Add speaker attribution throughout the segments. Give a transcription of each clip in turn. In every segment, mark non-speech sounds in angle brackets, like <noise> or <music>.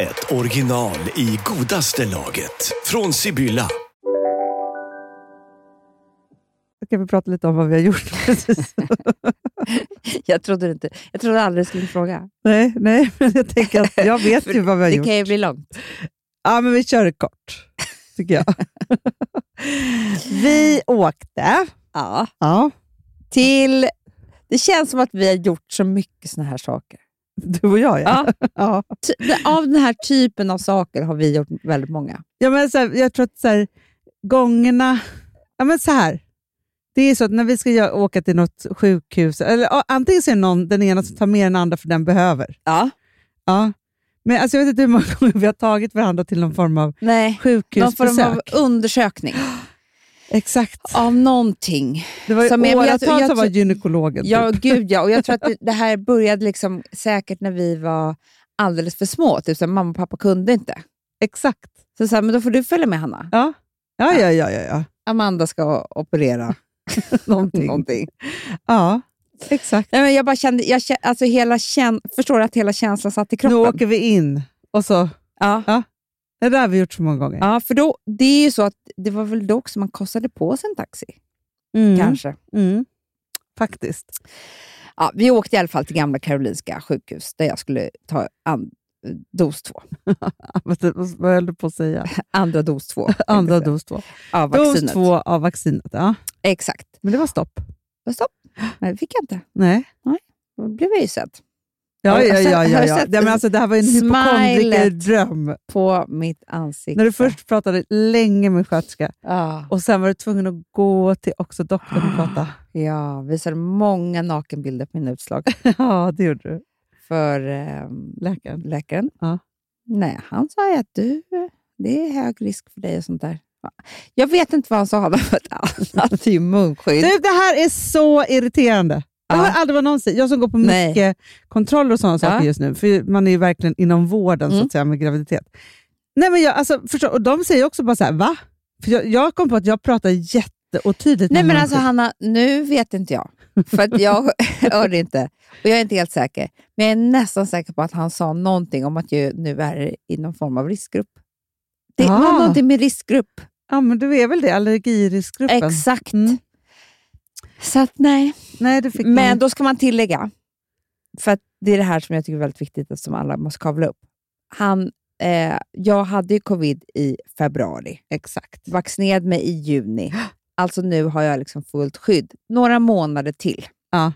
Speaker 1: ett original i godaste laget. Från Sibylla.
Speaker 2: Då kan vi prata lite om vad vi har gjort. precis.
Speaker 3: <laughs> Jag trodde, inte, jag trodde aldrig du skulle fråga.
Speaker 2: nej, nej, men jag tänker att jag vet ju vad vi har
Speaker 3: <laughs> Det
Speaker 2: gjort.
Speaker 3: kan ju bli långt.
Speaker 2: Ja, men vi kör det kort, tycker
Speaker 3: <laughs>
Speaker 2: jag. vi åkte.
Speaker 3: Ja.
Speaker 2: Ja,
Speaker 3: Till, det känns som att vi har gjort så mycket såna här saker.
Speaker 2: du och jag ja.
Speaker 3: Ja.
Speaker 2: ja.
Speaker 3: Ty- Av den här typen av saker har vi gjort väldigt många.
Speaker 2: ja men så här, jag tror att så här, gångerna... Ja, men så här. Det är så att när vi ska gö- åka till något sjukhus, eller ja, antingen så är det någon, den ena som tar med den andra för den behöver.
Speaker 3: Ja.
Speaker 2: Ja. Men alltså, jag vet inte hur många <laughs> gånger vi har tagit varandra till någon form av
Speaker 3: Nej. Någon
Speaker 2: sjukhusbesök.
Speaker 3: form av undersökning
Speaker 2: Exakt.
Speaker 3: av någonting.
Speaker 2: Det var ju
Speaker 3: Som är- men jag
Speaker 2: åratal
Speaker 3: tror- jag
Speaker 2: som var
Speaker 3: tror-
Speaker 2: gynekologen.
Speaker 3: Ja,
Speaker 2: typ.
Speaker 3: gud ja. Och jag tror att det, det här började liksom säkert när vi var alldeles för små. Typ så här, mamma och pappa kunde inte.
Speaker 2: Exakt.
Speaker 3: Så, så här, men då får du följa med Hanna.
Speaker 2: Ja, ja, ja. ja, ja, ja.
Speaker 3: Amanda ska operera <laughs>
Speaker 2: Någonting.
Speaker 3: någonting.
Speaker 2: ja exakt.
Speaker 3: Nej, men jag bara kände, jag kä- alltså hela kän, förstår du att hela känslan satt i
Speaker 2: Nu
Speaker 3: kroppen?
Speaker 2: åker vi in och så...
Speaker 3: ja.
Speaker 2: Det där har vi gjort så många gånger.
Speaker 3: ja, för då, det är ju så att det var väl då också man kostade på sig en taxi.
Speaker 2: Mm,
Speaker 3: Kanske.
Speaker 2: Mm. Faktiskt.
Speaker 3: Ja, vi åkte i alla fall till Gamla Karolinska sjukhus där jag skulle ta an, dos två.
Speaker 2: Vad vad höll du på att
Speaker 3: <laughs>
Speaker 2: säga?
Speaker 3: Andra dos <laughs> två. tänkte jag
Speaker 2: Andra
Speaker 3: säga.
Speaker 2: dos två.
Speaker 3: Av
Speaker 2: Dos
Speaker 3: vaccinet.
Speaker 2: två av vaccinet. Ja.
Speaker 3: Exakt.
Speaker 2: Men det var stopp.
Speaker 3: Men stopp. Nej, det fick jag inte.
Speaker 2: Nej.
Speaker 3: Då blev jag ju sedd
Speaker 2: Ja,
Speaker 3: Har du
Speaker 2: ja,
Speaker 3: sett-
Speaker 2: ja. ja,
Speaker 3: har du
Speaker 2: ja.
Speaker 3: sett
Speaker 2: ja men alltså, det här var ju en
Speaker 3: smilet?
Speaker 2: hypokondrikerdröm.
Speaker 3: på mitt ansikte.
Speaker 2: När du först pratade länge med sköterska
Speaker 3: Ja.
Speaker 2: och sen var du tvungen att gå till också doktorn och
Speaker 3: <gasps>
Speaker 2: prata.
Speaker 3: ja, visade många nakenbilder på mina <laughs> utslag
Speaker 2: Ja, det gjorde du.
Speaker 3: för ehm,
Speaker 2: Läkaren.
Speaker 3: läkaren.
Speaker 2: Ja.
Speaker 3: Nej, han sa ju att du, det är hög risk för dig och sånt där. Ja. Jag vet inte vad han sa, <laughs> för att han hade ju munskydd.
Speaker 2: Du, Typ, det här är så irriterande. Jag
Speaker 3: Ja.
Speaker 2: har aldrig varit någonsin. Jag som går på
Speaker 3: Nej.
Speaker 2: mycket kontroller och sådana saker just nu, för man är ju verkligen inom vården så
Speaker 3: Mm.
Speaker 2: att säga med graviditet. Nej, men jag, alltså, förstå, och de säger också bara så här, va? För jag, jag kom på att jag pratar jätteotydligt. med
Speaker 3: Nej
Speaker 2: typ.
Speaker 3: men
Speaker 2: min
Speaker 3: alltså
Speaker 2: sjuk-
Speaker 3: Hanna, nu vet inte jag. För att jag <laughs> hörde inte. Och jag är inte helt säker. Men jag är nästan säker på att han sa någonting om att jag nu är i någon form av riskgrupp. Det var
Speaker 2: Ah.
Speaker 3: någonting med riskgrupp.
Speaker 2: Ja, men du är väl det, allergiriskgruppen?
Speaker 3: Exakt.
Speaker 2: Mm.
Speaker 3: Så att nej.
Speaker 2: Nej, det fick
Speaker 3: Men
Speaker 2: man-
Speaker 3: då ska man tillägga, för att det är det här som jag tycker är väldigt viktigt som alla måste kavla upp. Han, eh, jag hade ju covid i februari,
Speaker 2: Exakt.
Speaker 3: vaccinerad mig i juni. Alltså nu har jag liksom fullt skydd, några månader till.
Speaker 2: Ja.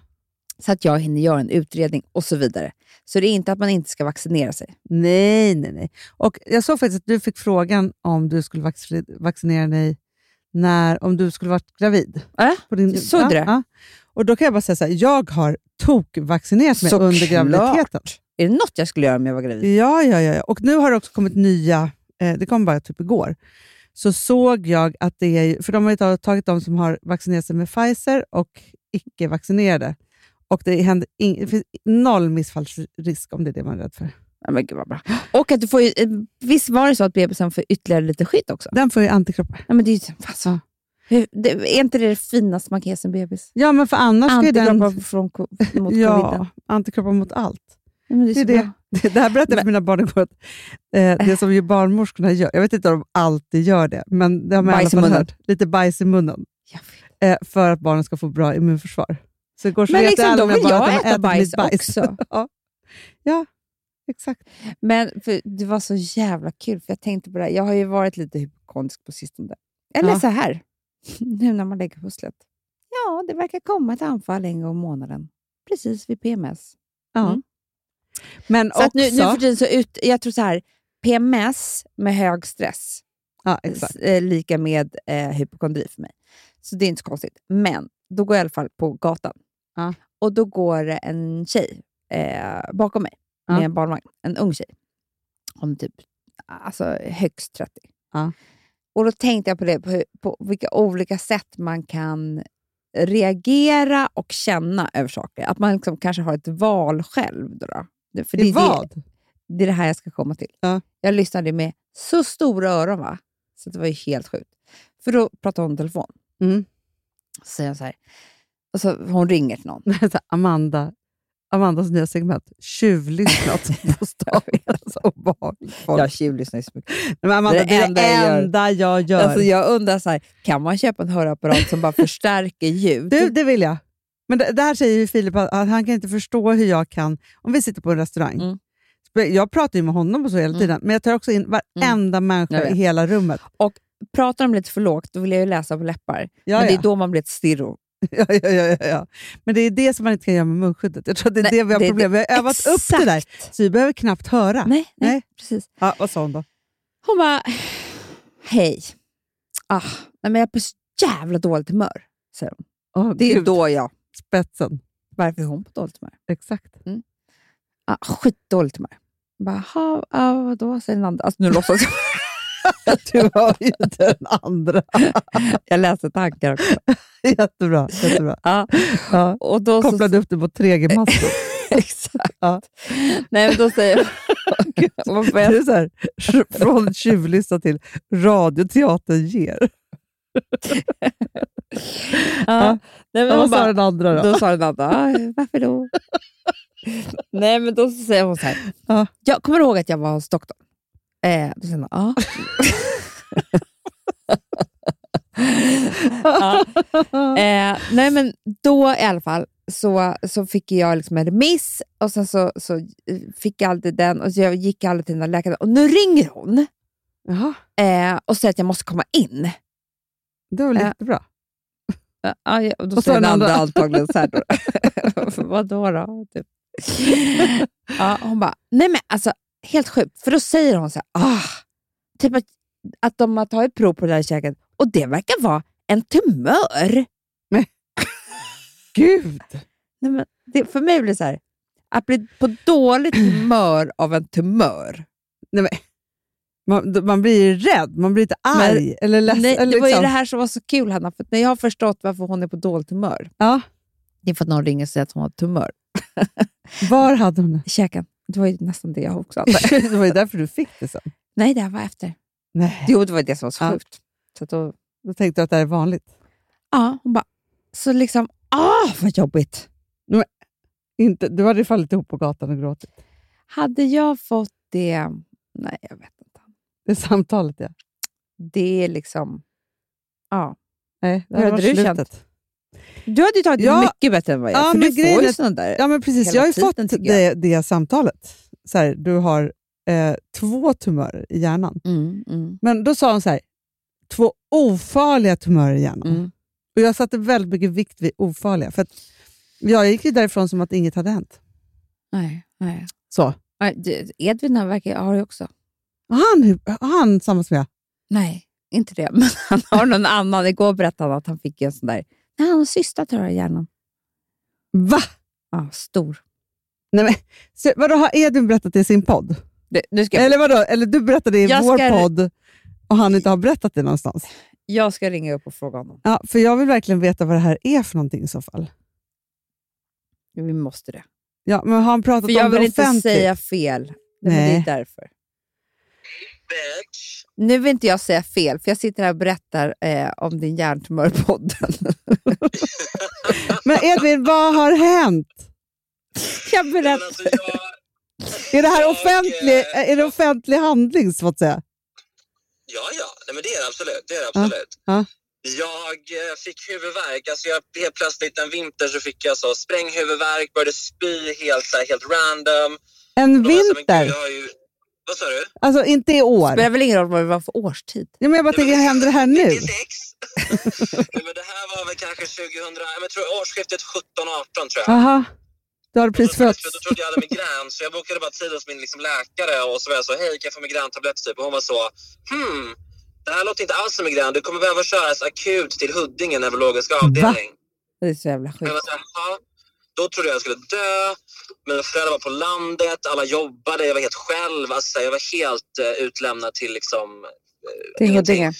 Speaker 3: Så att jag hinner göra en utredning och så vidare. Så det är inte att man inte ska vaccinera sig.
Speaker 2: Nej, nej, nej. Och jag såg faktiskt att du fick frågan om du skulle vaccin- vaccinera dig när, om du skulle varit gravid.
Speaker 3: Äh?
Speaker 2: På din,
Speaker 3: Såg du det?
Speaker 2: Och då kan jag bara säga så här, jag har tokvaccinerat mig
Speaker 3: Såklart.
Speaker 2: under graviditeten.
Speaker 3: Är det något jag skulle göra om jag var gravid?
Speaker 2: Ja, ja, ja. ja. Och nu har det också kommit nya, eh, det kom bara typ igår, så såg jag att det är, för de har ju ta- tagit de som har vaccinerat sig med Pfizer och icke-vaccinerade. Och det, händer ing, det finns noll missfallsrisk om det är det man är rädd för.
Speaker 3: Ja, men gud vad bra. Och att du får ju, eh, visst var det så att bebisen får ytterligare lite skit också?
Speaker 2: Den får ju antikroppar.
Speaker 3: Ja, men det är, ju- alltså, hur, det, är inte det det finaste man kan ge sin bebis?
Speaker 2: Ja, men för annars ska ju den...
Speaker 3: Antikroppar från, ko- mot
Speaker 2: Ja,
Speaker 3: coviden.
Speaker 2: antikroppar mot
Speaker 3: <laughs>
Speaker 2: allt.
Speaker 3: Ja, men det är
Speaker 2: Det, är
Speaker 3: så
Speaker 2: det.
Speaker 3: bra.
Speaker 2: det här berättade jag för mina barn igår. Att, eh, det som ju barnmorskorna gör, jag vet inte om de alltid gör det, men det har man i alla
Speaker 3: Bajs i
Speaker 2: fall
Speaker 3: munnen.
Speaker 2: hört. Lite bajs i munnen
Speaker 3: Jag
Speaker 2: eh, för att barnen ska få bra immunförsvar. Så igår så
Speaker 3: Men
Speaker 2: vet
Speaker 3: liksom,
Speaker 2: alla
Speaker 3: då
Speaker 2: mina
Speaker 3: vill
Speaker 2: barn att de
Speaker 3: jag äta
Speaker 2: äter
Speaker 3: bajs,
Speaker 2: mitt
Speaker 3: också.
Speaker 2: ja. ja, exakt.
Speaker 3: Men för, det var så jävla kul, för jag tänkte på det här. Jag har ju varit lite hypokondrisk på sistone. Eller
Speaker 2: Ja.
Speaker 3: så här, <laughs> nu när man lägger pusslet. Ja, det verkar komma ett anfall en gång i månaden. Precis vid PMS.
Speaker 2: Ja.
Speaker 3: Mm.
Speaker 2: Men
Speaker 3: Så
Speaker 2: också...
Speaker 3: att nu, nu för tiden så ut, jag tror så här, PMS med hög stress
Speaker 2: ja,
Speaker 3: s,
Speaker 2: exakt.
Speaker 3: eh, lika med eh, hypokondri för mig. Så det är inte så konstigt. Men då går jag i alla fall på gatan.
Speaker 2: Ja.
Speaker 3: Och då går det en tjej eh, bakom mig
Speaker 2: Ja.
Speaker 3: med en barnvagn. En ung tjej. Om typ alltså högst 30.
Speaker 2: Ja.
Speaker 3: Och då tänkte jag på det, på, hur- på vilka olika sätt man kan reagera och känna över saker. Att man liksom kanske har ett val själv. Då då. Det- För
Speaker 2: det
Speaker 3: det,
Speaker 2: är
Speaker 3: är det,
Speaker 2: vad?
Speaker 3: det är det här jag ska komma till.
Speaker 2: Ja.
Speaker 3: Jag lyssnade med så stora öron, va? så det var ju helt sjukt. För då pratade hon i telefon.
Speaker 2: Mm. <laughs>
Speaker 3: Så säger hon så här, och så hon ringer till någon.
Speaker 2: Så här, Amanda, Amandas nya segment, tjuvlyssnat
Speaker 3: <laughs>
Speaker 2: på stadens obehagligt folk.
Speaker 3: Jag tjuvlyssnar ju så mycket.
Speaker 2: Men Amanda, det är det enda jag gör.
Speaker 3: Alltså jag undrar, så här, kan man köpa en hörapparat som bara förstärker ljud? Typ,
Speaker 2: Du, det vill jag. Men det, det här säger ju Filip att att han kan inte förstå hur jag kan... Om vi sitter på en restaurang.
Speaker 3: Mm.
Speaker 2: Jag pratar ju med honom och så hela
Speaker 3: Mm.
Speaker 2: tiden, men jag tar också in varenda
Speaker 3: Jag
Speaker 2: människa
Speaker 3: vet.
Speaker 2: i hela rummet.
Speaker 3: Pratar de lite för lågt, då vill jag ju läsa på läppar.
Speaker 2: Ja,
Speaker 3: Men det
Speaker 2: ja.
Speaker 3: är då man blir ett stirro.
Speaker 2: Ja, ja, ja, ja, ja. Men det är det som man inte kan göra med munskyddet. Jag tror att det är
Speaker 3: Nej,
Speaker 2: det vi har
Speaker 3: det är
Speaker 2: problem med. Vi har övat upp det där,
Speaker 3: Exakt.
Speaker 2: så vi behöver knappt höra.
Speaker 3: Nej, nej,
Speaker 2: Nej.
Speaker 3: precis.
Speaker 2: Ja, vad sa hon då?
Speaker 3: Hon bara, hej. Ah, nej, men jag är på så jävla dåligt humör, säger hon.
Speaker 2: Åh,
Speaker 3: Det är
Speaker 2: Gud,
Speaker 3: då jag.
Speaker 2: Spetsen.
Speaker 3: Varför är hon på dåligt humör?
Speaker 2: Exakt.
Speaker 3: Ah, skitdåligt humör. Jag Bara, "Jaha, ah, vadå, säger den andra. Alltså, nu låtsas jag.
Speaker 2: <laughs> Du var ju den andra.
Speaker 3: <laughs> Jag läser tankar också.
Speaker 2: Jättebra. jättebra.
Speaker 3: Ja.
Speaker 2: Ja.
Speaker 3: Och då så
Speaker 2: Kopplade upp det på 3G-maskor.
Speaker 3: Exakt.
Speaker 2: Ja.
Speaker 3: Nej, men då säger
Speaker 2: <laughs>
Speaker 3: jag... Vad får
Speaker 2: Det
Speaker 3: jag...
Speaker 2: är så här, från tjuvlyssna till radioteatern ger.
Speaker 3: Ja. Nej, men
Speaker 2: Ja,
Speaker 3: hon
Speaker 2: vad sa
Speaker 3: bara,
Speaker 2: den andra då?
Speaker 3: då sa den andra, "Ah,
Speaker 2: <laughs>
Speaker 3: varför då? Nej, men då så säger hon så här.
Speaker 2: Ja.
Speaker 3: Jag kommer ihåg att jag var hos doktorn. Eh, då säger hon,
Speaker 2: <laughs>
Speaker 3: ja. ja. Eh, nej, men då i alla fall så, så fick jag liksom en remiss och sen så, så eh, fick jag alltid den och så jag gick aldrig till den där läkaren. Och nu ringer hon
Speaker 2: Jaha,
Speaker 3: eh, och säger att jag måste komma in.
Speaker 2: det var väl
Speaker 3: Ja.
Speaker 2: jättebra.
Speaker 3: Ja, ja, och då
Speaker 2: Och
Speaker 3: säger
Speaker 2: så
Speaker 3: den
Speaker 2: den
Speaker 3: andra
Speaker 2: andra.
Speaker 3: antagligen så här då. <laughs> Vad då? då? Typ. <laughs> Ja, hon bara, nej men alltså helt sjukt. För då säger hon så här, ah, typ att, att de har tagit prov på det där käket och det verkar vara en tumör.
Speaker 2: Gud!
Speaker 3: Nej, men det, för mig blir det så här, att bli på <clears throat> dåligt humör av en tumör.
Speaker 2: Man, man blir ju rädd, man blir inte arg eller ledsen.
Speaker 3: Nej, det
Speaker 2: eller
Speaker 3: var ju
Speaker 2: liksom.
Speaker 3: det här som var så kul Hanna, för att när jag har förstått varför hon är på dåligt humör,
Speaker 2: ja.
Speaker 3: det är för att någon ringer och säger att hon har tumör
Speaker 2: Var hade hon <laughs> det?
Speaker 3: i käken. Det var ju nästan det jag <laughs> också hade.
Speaker 2: Det var ju därför du fick det sen.
Speaker 3: Nej, det här var efter.
Speaker 2: Nej.
Speaker 3: Jo, det var det som var så
Speaker 2: Ja.
Speaker 3: sjukt. Så att då,
Speaker 2: Då tänkte du att det här är vanligt.
Speaker 3: ja, hon bara, så liksom, ah vad jobbigt.
Speaker 2: Inte, du hade ju fallit ihop på gatan och gråtit.
Speaker 3: Hade jag fått det, nej jag vet inte.
Speaker 2: Det är samtalet ja.
Speaker 3: Det är liksom, ja.
Speaker 2: Nej, det
Speaker 3: Hur
Speaker 2: hade
Speaker 3: hade
Speaker 2: varit
Speaker 3: du
Speaker 2: slutet.
Speaker 3: Du hade ju tagit det
Speaker 2: Ja.
Speaker 3: mycket bättre än vad jag,
Speaker 2: Ja,
Speaker 3: för
Speaker 2: men
Speaker 3: du får
Speaker 2: grejen
Speaker 3: ju
Speaker 2: är-
Speaker 3: sådana där.
Speaker 2: Ja, men precis.
Speaker 3: hela
Speaker 2: jag har ju
Speaker 3: tiden,
Speaker 2: fått
Speaker 3: tycker jag.
Speaker 2: det, det samtalet. Så här, du har eh, två tumörer i hjärnan.
Speaker 3: Mm, mm,
Speaker 2: Men då sa hon så här, två ofarliga tumörer i hjärnan.
Speaker 3: mm.
Speaker 2: Och jag satte väldigt mycket vikt vid ofarliga. För att jag gick ju därifrån som att inget hade hänt.
Speaker 3: Nej, nej.
Speaker 2: Så.
Speaker 3: Nej, det- Edvin han verkar har ju också.
Speaker 2: Och han, och han samma som jag.
Speaker 3: Nej, inte det. <laughs> Men han har någon annan. Igår berättade han att han fick en sån där, nej han har en cysta tror jag i hjärnan.
Speaker 2: Va?
Speaker 3: Ja, stor.
Speaker 2: Nej, men, så, vadå, har Edvin berättat det i sin podd?
Speaker 3: Det, nu ska jag,
Speaker 2: Eller vadå? Eller du berättade det i
Speaker 3: Jag
Speaker 2: vår
Speaker 3: ska-
Speaker 2: podd och han inte har berättat det någonstans?
Speaker 3: jag ska ringa upp och fråga honom.
Speaker 2: Ja, för jag vill verkligen veta vad det här är för någonting i så fall.
Speaker 3: Vi måste det.
Speaker 2: Ja, men har han pratat
Speaker 3: För jag
Speaker 2: om det
Speaker 3: vill inte
Speaker 2: offentligt?
Speaker 3: säga fel. Nej. Men det
Speaker 2: Nej.
Speaker 3: är därför. Nu vill inte jag säga fel, för jag sitter här och berättar eh, om din <laughs> hjärntumörpodden.
Speaker 2: Men Edvin, vad har hänt?
Speaker 3: <laughs> jag
Speaker 4: Men
Speaker 3: berättar.
Speaker 4: alltså, jag,
Speaker 2: Är det här
Speaker 4: Jag,
Speaker 2: offentlig,
Speaker 4: eh,
Speaker 2: är det offentlig handling, så att säga?
Speaker 4: ja, ja, nej, men det är det absolut. Det är det absolut.
Speaker 2: ja.
Speaker 4: Jag eh, fick huvudvärk. Alltså jag, helt plötsligt en vinter så fick jag så spränghuvudvärk, började spy helt, så här, helt random.
Speaker 2: En
Speaker 4: Då var jag så här, men gud,
Speaker 2: vinter?
Speaker 4: jag har ju... Vad sa du?
Speaker 2: Alltså, inte i år.
Speaker 3: Det spelar väl ingen roll vad det var för årstid?
Speaker 2: Ja, men jag bara tänker, händer det här nu?
Speaker 4: 96? <laughs> nej, men det här var väl kanske 2000... Jag men, tror jag, årsskiftet 17-18 tror jag.
Speaker 2: Aha. Du har
Speaker 4: Då
Speaker 2: precis
Speaker 4: trodde-
Speaker 2: fötts.
Speaker 4: Då trodde jag hade migrän så jag bokade bara tid hos min liksom, läkare och så var jag så, hej kan jag få migräntablett typ? Och hon var så, hmm, det här låter inte alls som migrän. Du kommer behöva köras akut till Huddinge neurologiska avdelning.
Speaker 3: Det är så jävla sjukt.
Speaker 4: Jag var så, här, "Jaha." Då trodde jag jag skulle dö. Mina föräldrar var på landet, alla jobbade, jag var helt själv. Alltså, jag var helt eh, utlämnad till liksom... eh,
Speaker 3: Ding och
Speaker 4: ingenting.
Speaker 3: dinge.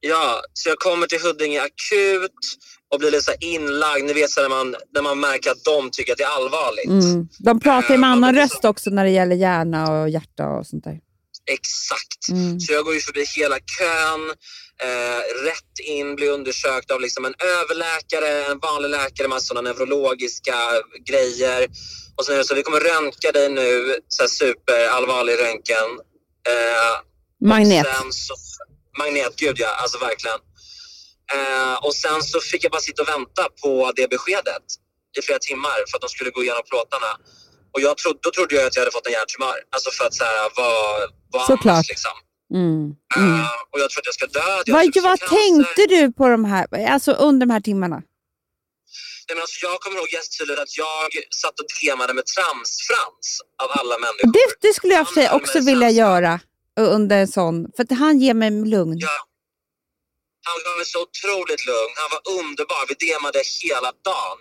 Speaker 4: Ja, så jag kommer till Huddinge akut och blir lite så här inlagd. Ni vet så här när, man, när man märker att de tycker att det är allvarligt.
Speaker 3: Mm. De pratar ju med annan röst också när det gäller hjärna och hjärta och sånt där.
Speaker 4: Exakt.
Speaker 3: Mm.
Speaker 4: Så jag går ju förbi hela kön, eh, rätt in, blir undersökt av liksom en överläkare, en vanlig läkare med sådana neurologiska grejer. Och sen är det så, vi kommer röntga dig nu, så här superallvarlig röntgen. Eh,
Speaker 3: Magnet.
Speaker 4: Sen så, magnetgud ja, alltså verkligen. Eh, och sen så fick jag bara sitta och vänta på det beskedet i flera timmar för att de skulle gå igenom plåtarna. Och jag trodde, då trodde jag att jag hade fått en hjärntumör. Alltså för att så här, vad, vad
Speaker 2: Såklart.
Speaker 4: annars liksom.
Speaker 3: Mm. Mm.
Speaker 4: Eh, och jag trodde jag skulle dö. att jag
Speaker 3: Vad,
Speaker 4: skulle få
Speaker 3: vad
Speaker 4: cancer.
Speaker 3: tänkte du på de här, alltså under de här timmarna?
Speaker 4: Nej, men alltså, jag kommer ihåg jättetydligt att jag satt och DMade med Tramsfrans av alla människor.
Speaker 3: Det, det skulle jag i och för sig också vilja göra under en sån, för att han ger mig lugn.
Speaker 4: Ja. Han var så otroligt lugn. Han var underbar. Vi demade hela dagen.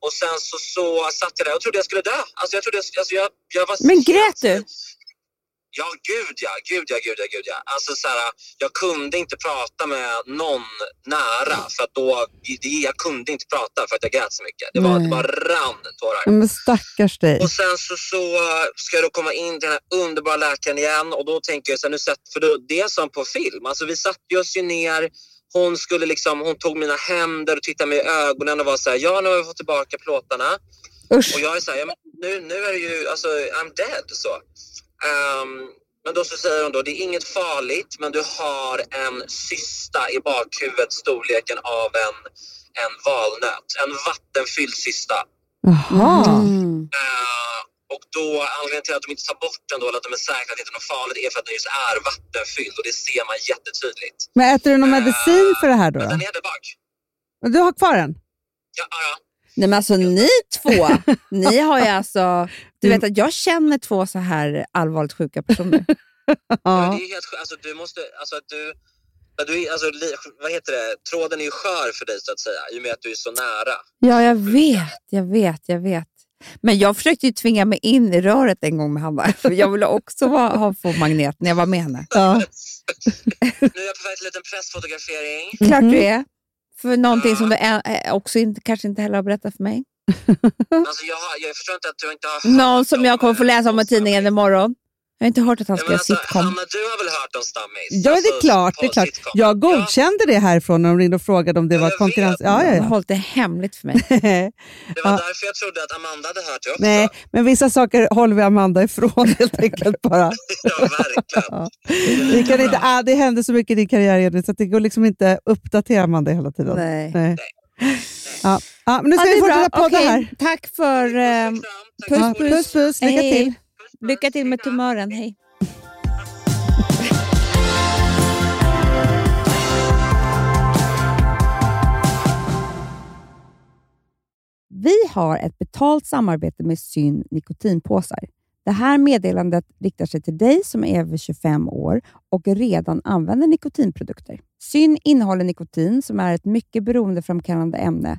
Speaker 4: Och sen så, så satt jag där och trodde jag skulle dö. Alltså jag trodde jag, sk- alltså jag, jag var
Speaker 3: Men grät du?
Speaker 4: Ja, gud ja. Gud ja, gud ja, gud ja. Alltså så här, jag kunde inte prata med någon nära för att då, det- jag kunde inte prata för att jag grät så mycket. Det var,
Speaker 2: Nej.
Speaker 4: det bara rann tårar.
Speaker 2: Ja, Men stackars dig.
Speaker 4: Och sen så, så eh, ska jag då komma in till den här underbara läkaren igen och då tänker jag så här, nu sätt, för då- det är som på film. Alltså vi satte oss ju ner, hon skulle liksom, hon tog mina händer och tittade mig i ögonen och var så här, ja nu har vi fått tillbaka plåtarna. Och
Speaker 3: Usch.
Speaker 4: jag är så här, ja, men nu, nu är det ju, alltså I'm dead så. Ehm, men då så säger hon då, det är inget farligt men du har en cysta i bakhuvudet storleken av en, en valnöt. En vattenfylld cysta.
Speaker 2: Jaha.
Speaker 3: Mm.
Speaker 4: Eh, och då, anledningen till att de inte tar bort den då, eller att de är säkra att det inte är något farligt, är för att den just är vattenfylld och det ser man jättetydligt.
Speaker 2: Men äter du någon medicin för det här då?
Speaker 4: Men
Speaker 2: då?
Speaker 4: den är där bak.
Speaker 2: Men Du har kvar den?
Speaker 4: Ja, ja, ja.
Speaker 3: Nej men alltså ni två, ni har ju alltså, du vet att jag känner två så här allvarligt sjuka personer.
Speaker 4: Men
Speaker 2: Ja.
Speaker 4: det är ju helt skö- Alltså du måste, alltså att du, att du är- alltså, li, vad heter det, tråden är ju skör för dig så att säga, i och med att du är så nära.
Speaker 3: <laughs> Ja jag vet, jag vet, jag vet. Men jag försökte ju tvinga mig in i röret en gång med Hanna, <laughs> för jag ville också vara, ha, få magnet när jag var med henne.
Speaker 2: ja.
Speaker 4: Nu är jag på väg till en liten
Speaker 2: <laughs>
Speaker 4: pressfotografering.
Speaker 3: Klart du är. För någonting som du ä- ä- också inte, kanske inte heller har berättat för mig.
Speaker 2: Mm.
Speaker 4: Alltså jag, har, jag förstår inte att du inte har hört
Speaker 3: Någon som jag kommer få
Speaker 4: eh,
Speaker 3: läsa om i tidningen imorgon. Jag har inte hört att han
Speaker 4: Ja,
Speaker 3: ska
Speaker 4: men
Speaker 3: göra
Speaker 4: alltså,
Speaker 3: sitcom.
Speaker 4: Hanna, du har väl hört om stammis?
Speaker 2: ja, det är
Speaker 4: Alltså,
Speaker 2: klart. Det är
Speaker 4: på
Speaker 2: klart.
Speaker 4: sitcom.
Speaker 2: Jag
Speaker 4: Ja.
Speaker 2: godkände det härifrån när de ringde och frågade om det
Speaker 4: Ja,
Speaker 2: var
Speaker 4: jag
Speaker 2: konkurrens.
Speaker 4: vet.
Speaker 2: Ja, ja,
Speaker 3: Han har
Speaker 2: ja.
Speaker 3: hållit det hemligt för <laughs> mig.
Speaker 4: Det var
Speaker 2: Ja. <laughs>
Speaker 4: därför jag trodde att Amanda hade hört det också.
Speaker 2: Nej, men vissa saker håller vi Amanda ifrån <laughs> helt enkelt bara.
Speaker 4: <laughs> Ja, verkligen.
Speaker 2: Ja. Vi kan inte, ah, det hände så mycket i din karriär, Edvin, så att det går liksom inte att uppdatera Amanda hela tiden.
Speaker 3: Nej.
Speaker 2: Nej. Ja. Ja, men nu
Speaker 3: Ja,
Speaker 2: ska
Speaker 3: det
Speaker 2: vi
Speaker 3: är
Speaker 2: fortsätta
Speaker 3: bra.
Speaker 2: podda
Speaker 3: Okej,
Speaker 2: här.
Speaker 3: Tack för... Eh,
Speaker 4: ehm, Puss,
Speaker 2: Ja,
Speaker 4: puss.
Speaker 2: puss, puss. Lycka
Speaker 3: hej.
Speaker 2: till.
Speaker 3: Lycka till med tumören. Hej. Vi har ett betalt samarbete med Syn nikotinpåsar. Det här meddelandet riktar sig till dig som är över 25 år och redan använder nikotinprodukter. Syn innehåller nikotin som är ett mycket beroendeframkallande ämne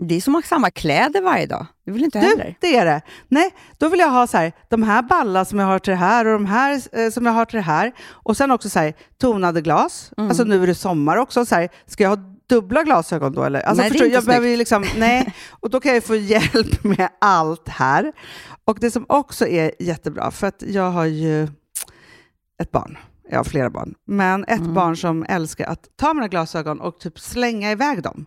Speaker 3: Det är som att ha samma kläder varje dag. Det vill inte jag
Speaker 2: Du,
Speaker 3: heller.
Speaker 2: det är det. Nej, då vill jag ha så här, de här balla som jag har till det här och de här eh, som jag har till det här. Och sen också så här, tonade glas.
Speaker 3: Mm.
Speaker 2: Alltså nu är det sommar också. Så här, ska jag ha dubbla glasögon då eller? Alltså,
Speaker 3: Nej, det är
Speaker 2: förstår du,
Speaker 3: inte
Speaker 2: jag behöver ju liksom,
Speaker 3: <laughs>
Speaker 2: nej. Och då kan jag ju få hjälp med allt här. Och det som också är jättebra, för att jag har ju ett barn. Jag har flera barn. Men ett
Speaker 3: Mm.
Speaker 2: barn som älskar att ta mina glasögon och typ slänga iväg dem.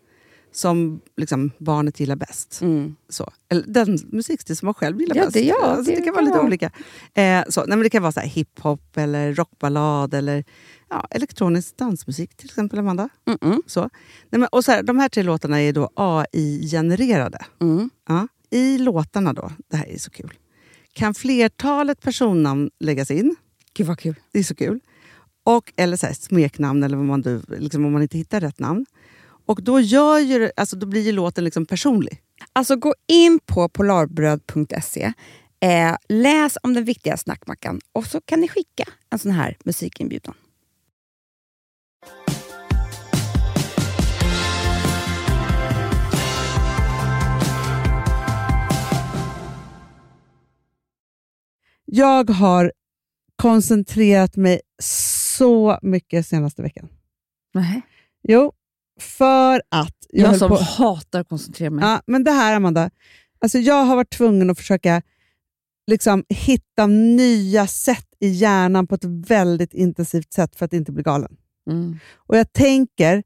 Speaker 2: som liksom, barnet gillar bäst. Så. Eller den musikstil som man själv gillar
Speaker 3: Ja,
Speaker 2: bäst.
Speaker 3: det- ja,
Speaker 2: alltså, det,
Speaker 3: det
Speaker 2: kan vara lite
Speaker 3: kan-
Speaker 2: olika. Eh, så. Nej, men det kan vara så här hiphop, eller rockballad eller ja, elektronisk dansmusik till exempel, Amanda. Så. Nej, men, och så här, de här tre låtarna är då AI-genererade. Ja. I låtarna då, det här är så kul, kan flertalet personnamn läggas in.
Speaker 3: Gud vad kul.
Speaker 2: Det är så kul. Och, eller så här, smeknamn, eller vad man, du- liksom, om man inte hittar rätt namn. Och då, gör ju, det- alltså, då blir ju låten liksom personlig.
Speaker 3: Alltså gå in på polarbröd.se, eh, läs om den viktiga snackmackan och så kan ni skicka en sån här musikinbjudan.
Speaker 2: Jag har koncentrerat mig så mycket senaste veckan.
Speaker 5: Nej.
Speaker 2: Jo, för att...
Speaker 5: Jag,
Speaker 2: höll
Speaker 5: som
Speaker 2: på-
Speaker 5: hatar att koncentrera mig.
Speaker 2: Ja, men det här Amanda, alltså jag har varit tvungen att försöka liksom, hitta nya sätt i hjärnan på ett väldigt intensivt sätt för att inte bli galen.
Speaker 5: Mm.
Speaker 2: Och jag tänker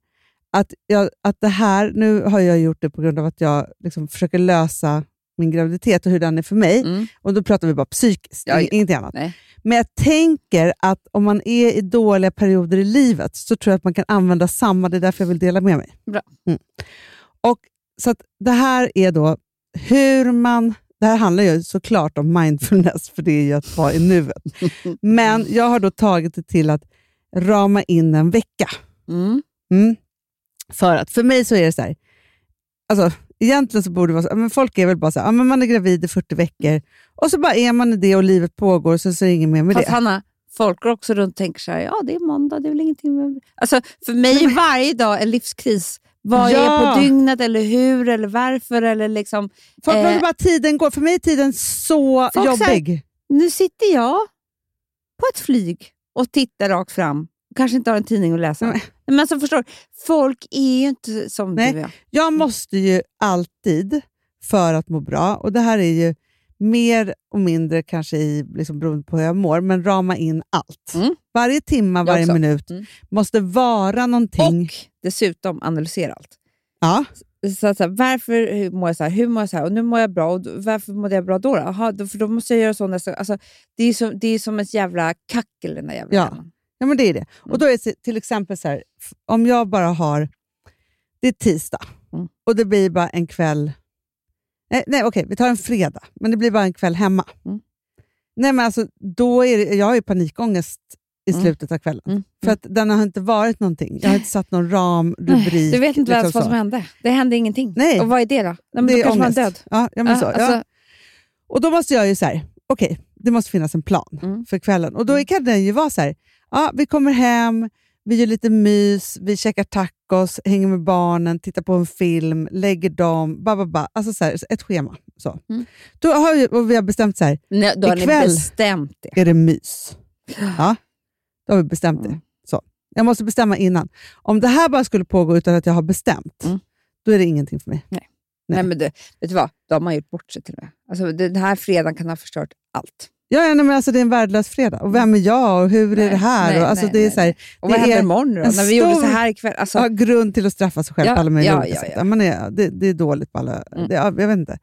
Speaker 2: att, jag, att det här, nu har jag gjort det på grund av att jag liksom försöker lösa min graviditet och hur den är för mig.
Speaker 5: Mm.
Speaker 2: Och då pratar vi bara psykiskt,
Speaker 5: Ja, ja.
Speaker 2: ingenting annat.
Speaker 5: Nej.
Speaker 2: Men jag tänker att om man är i dåliga perioder i livet så tror jag att man kan använda samma, det är därför jag vill dela med mig.
Speaker 5: Bra.
Speaker 2: Mm. Och, så att det här är då hur man, det här handlar ju såklart om mindfulness, för det är ju att vara i
Speaker 5: <laughs>
Speaker 2: nuet. Men jag har då tagit det till att rama in en vecka.
Speaker 5: Mm.
Speaker 2: Mm. För att för mig så är det så här, alltså, egentligen så borde det vara så, ja, men folk är väl bara så här, ja, men man är gravid i 40 veckor och så bara är man i det och livet pågår så, så är det ingen mer med
Speaker 5: Fast
Speaker 2: det.
Speaker 5: Hanna, folk går också runt och tänker så här, ja det är måndag, det är väl ingenting. Med... Alltså, för mig är varje dag en livskris. Vad
Speaker 2: Ja.
Speaker 5: är på dygnet, eller hur, eller varför, eller liksom...
Speaker 2: Folk
Speaker 5: eh,
Speaker 2: låter bara tiden går, för mig är tiden så
Speaker 5: Folk
Speaker 2: jobbig.
Speaker 5: Nu sitter jag på ett flyg och tittar rakt fram. Kanske inte har en tidning att läsa.
Speaker 2: Nej.
Speaker 5: Men alltså, förstår du? Folk är ju inte som
Speaker 2: Nej.
Speaker 5: du och jag.
Speaker 2: Jag måste ju alltid, för att må bra, och det här är ju mer och mindre kanske i, liksom, beroende på hur jag mår, men rama in allt.
Speaker 5: Mm.
Speaker 2: Varje timma,
Speaker 5: Jag
Speaker 2: varje
Speaker 5: också.
Speaker 2: minut
Speaker 5: Mm.
Speaker 2: måste vara någonting.
Speaker 5: Och dessutom analysera allt.
Speaker 2: Ja.
Speaker 3: Så att, så här, varför hur mår jag så här? Hur mår jag så här? Och nu mår jag bra. Och då- varför mådde jag bra då? då? Aha, då för då måste jag göra så nästa gång. Alltså, det, är som, det är som ett jävla kackel, den där jävla
Speaker 2: Ja.
Speaker 3: hjärnan.
Speaker 2: Ja, men det är det.
Speaker 3: Mm.
Speaker 2: Och då är det till exempel så här, f- om jag bara har... Det är tisdag
Speaker 6: Mm.
Speaker 2: och det blir bara en kväll... Nej, nej okej, vi tar en fredag, men det blir bara en kväll hemma.
Speaker 6: Mm.
Speaker 2: Nej, men alltså, då är det, jag har ju panikångest i
Speaker 6: Mm.
Speaker 2: slutet av kvällen.
Speaker 6: Mm.
Speaker 2: För att den har inte varit någonting. Jag har inte satt någon ram, rubrik.
Speaker 3: Du vet
Speaker 2: liksom
Speaker 3: inte ens vad
Speaker 2: så.
Speaker 3: som hände. Det hände ingenting.
Speaker 2: Nej.
Speaker 3: Och vad är det då? Nej, men
Speaker 2: Det
Speaker 3: då
Speaker 2: är
Speaker 3: kanske man är
Speaker 2: ångest.
Speaker 3: död.
Speaker 2: Ja, ja, men
Speaker 3: Ja,
Speaker 2: så.
Speaker 3: alltså-
Speaker 2: Ja. Och då måste jag ju så här, okej, det måste finnas en plan
Speaker 6: Mm.
Speaker 2: för kvällen. Och då kan den ju vara så här, ja, vi kommer hem, vi gör lite mys, vi käkar tacos, hänger med barnen, tittar på en film, lägger dem, ba, ba, ba. Alltså så här, ett schema. Så.
Speaker 3: Mm.
Speaker 2: Då har vi, och vi har bestämt så här,
Speaker 3: Nej, då har ni
Speaker 2: Ikväll.
Speaker 3: bestämt det.
Speaker 2: är det mys? Ja, då har vi bestämt
Speaker 3: Mm.
Speaker 2: det. Så. Jag måste bestämma innan. Om det här bara skulle pågå utan att jag har bestämt,
Speaker 6: Mm.
Speaker 2: då är det ingenting för mig. Nej.
Speaker 3: Nej. men du, vet du vad? Då har man gjort bort sig till och med. Alltså, den här fredagen kan ha förstört allt.
Speaker 2: Ja, ja nej, men alltså det är en värdelös fredag. Och vem är jag och hur är
Speaker 3: Nej,
Speaker 2: det här?
Speaker 3: nej,
Speaker 2: och, alltså,
Speaker 3: nej,
Speaker 2: det är
Speaker 3: nej,
Speaker 2: så här,
Speaker 3: Och vad
Speaker 2: Det
Speaker 3: händer
Speaker 2: är
Speaker 3: imorgon då?
Speaker 2: en
Speaker 3: När vi gjorde så
Speaker 2: stor-
Speaker 3: här ikväll. Alltså,
Speaker 2: ja, grund till att straffa sig själv
Speaker 3: Ja,
Speaker 2: på alla möjliga
Speaker 3: ja,
Speaker 2: olika
Speaker 3: ja,
Speaker 2: sätt.
Speaker 3: ja.
Speaker 2: Ja, Man är, det, det är dåligt på alla...
Speaker 6: Mm.
Speaker 2: Det, ja, jag vet inte.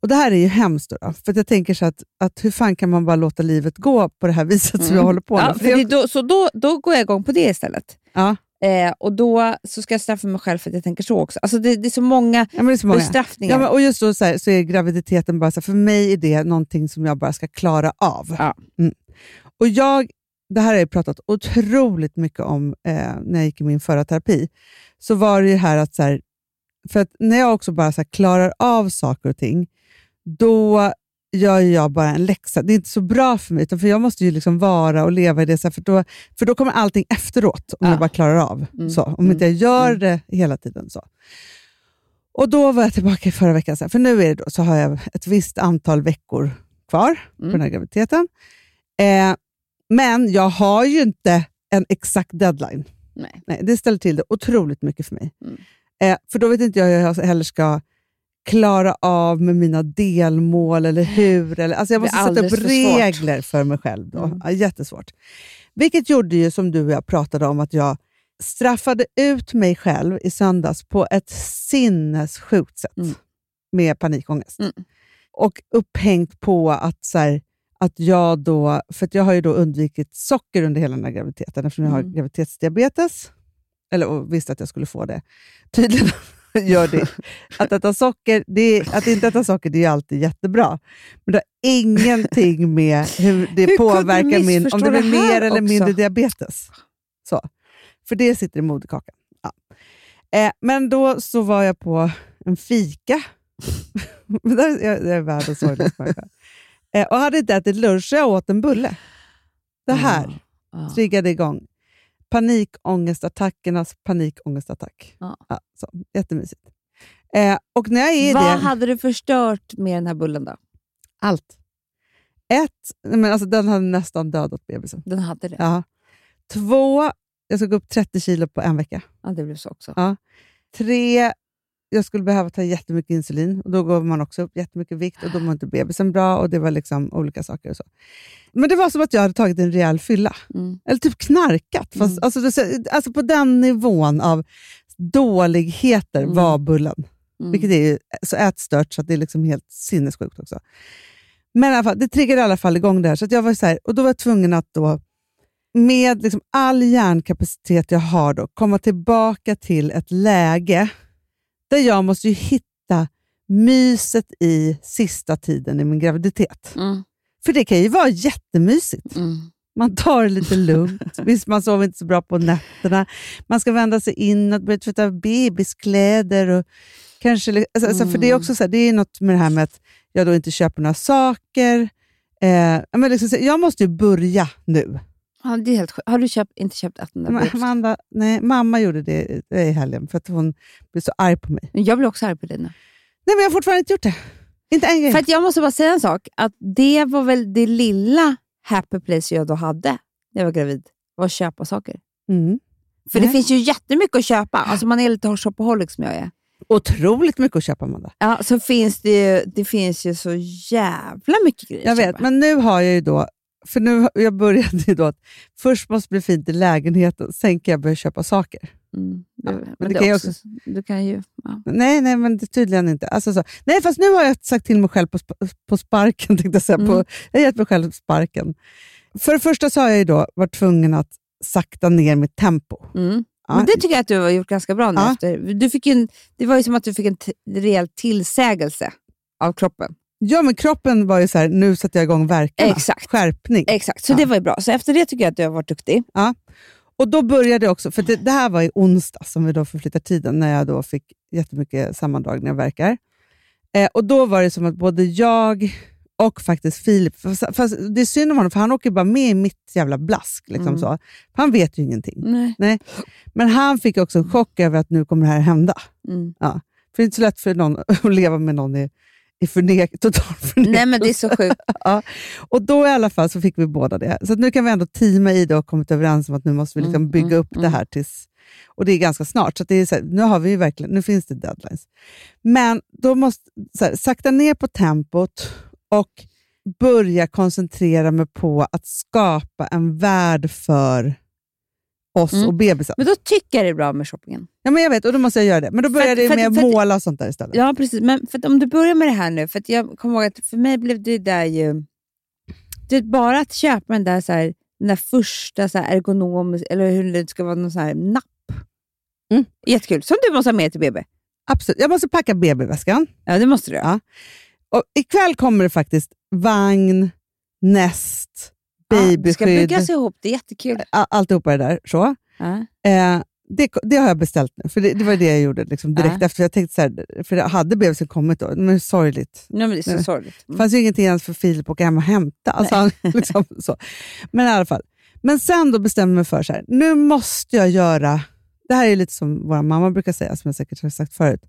Speaker 2: Och det här är ju hemskt. Då, då, för att jag tänker så att, att hur fan kan man bara låta livet gå på det här viset som jag håller på med?
Speaker 3: Mm. ja, för det, är då, så då, då går jag igång på det istället.
Speaker 2: Ja.
Speaker 3: Eh, och då så ska jag straffa mig själv för att jag tänker så också. Alltså, det, det är så många
Speaker 2: ja, men det är så många.
Speaker 3: bestraffningar.
Speaker 2: Ja, men, och just då så, här, så är graviditeten bara så här, för mig är det någonting som jag bara ska klara av.
Speaker 3: Ja.
Speaker 2: Mm. Och jag, det här har jag pratat otroligt mycket om eh, när jag gick i min förra terapi. Så var det ju här att, så här, för att när jag också bara så här, klarar av saker och ting, då gör ju jag bara en läxa. Det är inte så bra för mig, utan för jag måste ju liksom vara och leva i det, så här, för, då, för då kommer allting efteråt, om
Speaker 6: Ja.
Speaker 2: jag bara klarar av.
Speaker 6: Mm.
Speaker 2: Så, om inte jag gör det hela tiden. så. Och då var jag tillbaka i förra veckan, så här, för nu är det då, så har jag ett visst antal veckor kvar på
Speaker 6: Mm.
Speaker 2: den här graviditeten. Eh, men jag har ju inte en exakt deadline.
Speaker 6: Nej.
Speaker 2: det ställer till det otroligt mycket för mig.
Speaker 6: Mm.
Speaker 2: Eh, för då vet inte jag hur jag heller ska klara av med mina delmål eller hur. Eller, alltså jag
Speaker 3: Det är
Speaker 2: måste sätta upp
Speaker 3: alldeles för svårt.
Speaker 2: regler för mig själv. Då.
Speaker 6: Mm.
Speaker 2: Ja, jättesvårt. Vilket gjorde ju, som du och jag pratade om, att jag straffade ut mig själv i söndags på ett sinnessjukt sätt
Speaker 6: Mm.
Speaker 2: med panikångest.
Speaker 6: Mm.
Speaker 2: Och upphängt på att, så här, att jag då... För att jag har ju då undvikit socker under hela den här graviditeten eftersom jag har
Speaker 6: Mm.
Speaker 2: graviditetsdiabetes. Eller och visste att jag skulle få det. <laughs> Tydligen gör det. Att äta socker, det är, att inte äta socker det är ju alltid jättebra. Men det har ingenting med hur det
Speaker 3: Hur kunde
Speaker 2: påverkar
Speaker 3: du
Speaker 2: min... Om
Speaker 3: missförstå
Speaker 2: det blir
Speaker 3: det här
Speaker 2: mer eller
Speaker 3: också?
Speaker 2: mindre diabetes. Så. För det sitter i moderkakan. Ja. Eh, men då så var jag på en fika. <laughs> Men där, jag, jag är världens sorgligaste människa. eh, Och hade inte ätit lunch, så jag åt en bulle. Det här
Speaker 6: Ja.
Speaker 2: triggade igång panikångestattackernas panikångestattack.
Speaker 6: Ja.
Speaker 2: så, jättemysigt. Eh, och när jag är i
Speaker 3: Vad
Speaker 2: det...
Speaker 3: hade du förstört med den här bullen då?
Speaker 2: Allt. Ett, nej, men alltså, den hade nästan dödat bebisen.
Speaker 3: Den hade det. Ja,
Speaker 2: Ja. Två, jag ska gå upp 30 kilo på en vecka.
Speaker 3: det blev så också.
Speaker 2: Ja. Tre, jag skulle behöva ta jättemycket insulin och då går man också upp jättemycket vikt och då mår inte bebisen bra och det var liksom olika saker och så. Men det var som att jag hade tagit en rejäl fylla.
Speaker 3: Mm.
Speaker 2: Eller typ knarkat. Fast, alltså, det- alltså på den nivån av dåligheter
Speaker 3: Mm.
Speaker 2: var bullen.
Speaker 3: Mm.
Speaker 2: Vilket är ju så ätstört så att det är liksom helt sinnessjukt också. Men i alla fall, det triggade i alla fall igång det här. Så att jag var så här och då var jag tvungen att då, med liksom all hjärnkapacitet jag har, då, komma tillbaka till ett läge där jag måste ju hitta myset i sista tiden i min graviditet.
Speaker 3: Mm.
Speaker 2: För det kan ju vara jättemysigt.
Speaker 3: Mm.
Speaker 2: Man tar det lite
Speaker 3: <laughs>
Speaker 2: lugnt. Visst, man sover inte så bra på nätterna. Man ska vända sig inåt, börja tvätta bebiskläder. Och kanske, li- alltså, alltså, för det, är
Speaker 3: Mm.
Speaker 2: också så här, det är något med det här med att jag då inte köper några saker. Eh, ja, men liksom, så här, jag måste ju börja nu.
Speaker 3: Ja, det är helt sjukt. Har du köpt, inte köpt att den där
Speaker 2: Ma-
Speaker 3: bullen?
Speaker 2: Amanda, nej, mamma gjorde det eh, i- i helgen för att hon blev så arg på mig.
Speaker 3: Men Jag blir också arg på dig
Speaker 2: Mm.
Speaker 3: nu.
Speaker 2: Nej, men jag har fortfarande inte gjort det. Inte en grej.
Speaker 3: För att jag måste bara säga en sak. Att det var väl det lilla happy place jag då hade när jag var gravid. Var att köpa saker.
Speaker 2: Mm.
Speaker 3: För det
Speaker 2: Nej.
Speaker 3: finns ju jättemycket att köpa. Alltså man är lite shopaholic som jag är.
Speaker 2: Otroligt mycket att köpa, Amanda.
Speaker 3: Ja, så finns det, ju, det finns ju så jävla mycket grejer
Speaker 2: Jag
Speaker 3: att
Speaker 2: vet,
Speaker 3: köpa.
Speaker 2: men nu har jag ju då... För nu, jag började ju då att först måste det bli fint i lägenheten, sen kan jag börja köpa saker.
Speaker 3: Mm, det, men
Speaker 2: det
Speaker 3: det
Speaker 2: kan ju
Speaker 3: också, Du kan ju... Ja.
Speaker 2: Nej, nej, men det, tydligen inte. Alltså så. Nej, fast nu har jag sagt till mig själv på, sp- på sparken. <laughs> Tänkte jag, säga.
Speaker 3: Mm.
Speaker 2: På, jag har gett mig själv sparken. För det första så har jag ju då varit tvungen att sakta ner mitt tempo.
Speaker 3: Mm.
Speaker 2: Ja,
Speaker 3: Men det tycker jag att du har gjort ganska bra nu.
Speaker 2: Ja.
Speaker 3: Efter. Du fick ju en, det var ju som att du fick en t- rejäl tillsägelse av kroppen.
Speaker 2: ja, men kroppen var ju så här, nu sätter jag igång verkarna.
Speaker 3: Exakt.
Speaker 2: Skärpning.
Speaker 3: Exakt, så
Speaker 2: Ja.
Speaker 3: det var ju bra. Så efter det tycker jag att du har varit duktig.
Speaker 2: Och då började jag också, för det, det här var i onsdag som vi då förflyttar tiden, när jag då fick jättemycket sammandragningar och verkar. Eh, och då var det som att både jag och faktiskt Filip, fast, fast det är synd om honom, för han åker bara med i mitt jävla blask. Liksom
Speaker 3: Mm.
Speaker 2: så. Han vet ju ingenting.
Speaker 3: Nej.
Speaker 2: Men han fick också en chock över att nu kommer det här hända.
Speaker 3: Mm.
Speaker 2: För det är inte så lätt för någon <laughs> att leva med någon i, i förnek, total förnekelse.
Speaker 3: Nej men det är <laughs> så sjukt.
Speaker 2: Och då i alla fall så fick vi båda det. Så att nu kan vi ändå teama i det och kommit överens om att nu måste vi liksom
Speaker 3: Mm,
Speaker 2: bygga
Speaker 3: mm,
Speaker 2: upp det här tills... Och det är ganska snart, så, att det är så här, nu har vi ju verkligen, nu finns det deadlines. Men då måste så här, sakta ner på tempot och börja koncentrera mig på att skapa en värld för oss
Speaker 3: Mm.
Speaker 2: och bebisen.
Speaker 3: Men då tycker jag det är bra med shoppingen.
Speaker 2: Ja, men jag vet, och då måste jag göra det. Men då börjar
Speaker 3: att-
Speaker 2: det
Speaker 3: för
Speaker 2: med
Speaker 3: att-
Speaker 2: att
Speaker 3: för att-
Speaker 2: måla och sånt där istället.
Speaker 3: Ja, precis. Men för att om du börjar med det här nu, för att jag kommer ihåg att för mig blev det där ju... Du vet, bara att köpa den där, så här, den där första så här ergonomisk, eller hur det ska vara, någon så här napp.
Speaker 2: Mm.
Speaker 3: Jättekul. Som du måste ha med till BB.
Speaker 2: Absolut. Jag måste packa BB-väskan.
Speaker 3: Ja, det måste du göra.
Speaker 2: Ja. Och ikväll kommer det faktiskt vagn, näst,
Speaker 3: Ja, det Ah, ska
Speaker 2: babyskydd,
Speaker 3: byggas ihop. Det är jättekul.
Speaker 2: a- alltihopa det där. Så.
Speaker 3: Ja.
Speaker 2: Eh, det, det har jag beställt nu, för det, det var det jag gjorde liksom, direkt
Speaker 3: Ja.
Speaker 2: efter. Jag tänkte så här, för jag hade bebisen kommit då, men sorgligt.
Speaker 3: Nej, men det är så
Speaker 2: Nej.
Speaker 3: sorgligt.
Speaker 2: Det
Speaker 3: Mm.
Speaker 2: fanns ju ingenting ens för Filip att åka hem och hämta. Alltså, han, <laughs> liksom, så. Men i alla fall. Men sen då bestämde jag mig för så här, nu måste jag göra, det här är lite som vår mamma brukar säga, som jag säkert har sagt förut,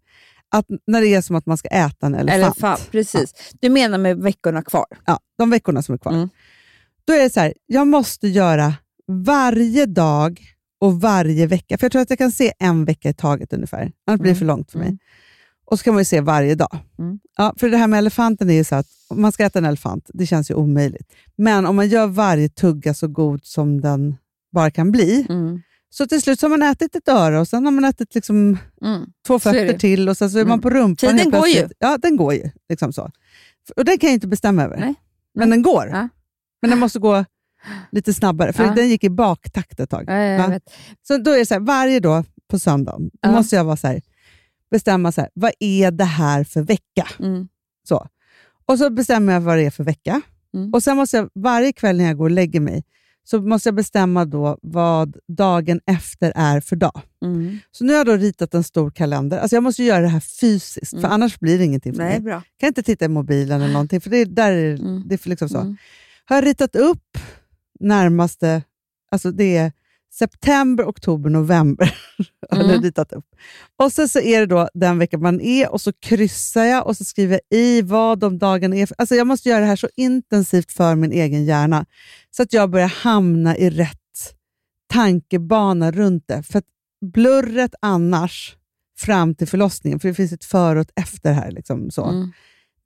Speaker 2: att när det är som att man ska äta en elefant.
Speaker 3: Elefant. Precis. Du menar med veckorna kvar?
Speaker 2: ja, de veckorna som är kvar.
Speaker 3: Mm.
Speaker 2: Då är det så här, jag måste göra varje dag och varje vecka. För jag tror att jag kan se en vecka i taget ungefär. Annars blir det för långt för mig. Och så kan man ju se varje dag.
Speaker 3: Mm.
Speaker 2: Ja, för det här med elefanten är ju så att om man ska äta en elefant, det känns ju omöjligt. Men om man gör varje tugga så god som den bara kan bli.
Speaker 3: Mm.
Speaker 2: Så till slut så har man ätit ett öra och sen har man ätit liksom
Speaker 3: Mm.
Speaker 2: två
Speaker 3: Så är
Speaker 2: fötter
Speaker 3: det.
Speaker 2: till och sen så är man
Speaker 3: Mm.
Speaker 2: på rumpan.
Speaker 3: Tiden
Speaker 2: helt
Speaker 3: går ju.
Speaker 2: plötsligt. Ja, den går ju. Liksom så. Och den kan jag ju inte bestämma över.
Speaker 3: Nej.
Speaker 2: Men den går.
Speaker 3: Ja.
Speaker 2: Men den måste gå lite snabbare, för
Speaker 3: Ja.
Speaker 2: den gick i baktakt ett tag.
Speaker 3: Ja, jag
Speaker 2: Va?
Speaker 3: vet.
Speaker 2: Så då är det så här, varje dag på söndagen då
Speaker 3: Ja.
Speaker 2: måste jag vara så här, bestämma så här, vad är det här för vecka.
Speaker 3: Mm.
Speaker 2: Så. Och så bestämmer jag vad det är för vecka.
Speaker 3: Mm.
Speaker 2: Och sen måste jag varje kväll när jag går och lägger mig, så måste jag bestämma då vad dagen efter är för dag.
Speaker 3: Mm.
Speaker 2: Så nu har jag då ritat en stor kalender. Alltså jag måste ju göra det här fysiskt,
Speaker 3: Mm.
Speaker 2: för annars blir det ingenting för
Speaker 3: Nej,
Speaker 2: mig.
Speaker 3: bra.
Speaker 2: Jag kan inte titta i mobilen eller någonting, för det är, där är,
Speaker 3: Mm.
Speaker 2: det är för liksom så.
Speaker 3: Mm.
Speaker 2: Har jag ritat upp närmaste... Alltså det är september, oktober, november. <laughs> har jag nu
Speaker 3: Mm.
Speaker 2: ritat upp. Och sen så är det då den vecka man är och så kryssar jag och så skriver jag i vad de dagarna är. för- Alltså jag måste göra det här så intensivt för min egen hjärna så att jag börjar hamna i rätt tankebana runt det. För att blurret annars fram till förlossningen, för det finns ett före och ett efter här, liksom så,
Speaker 3: Mm.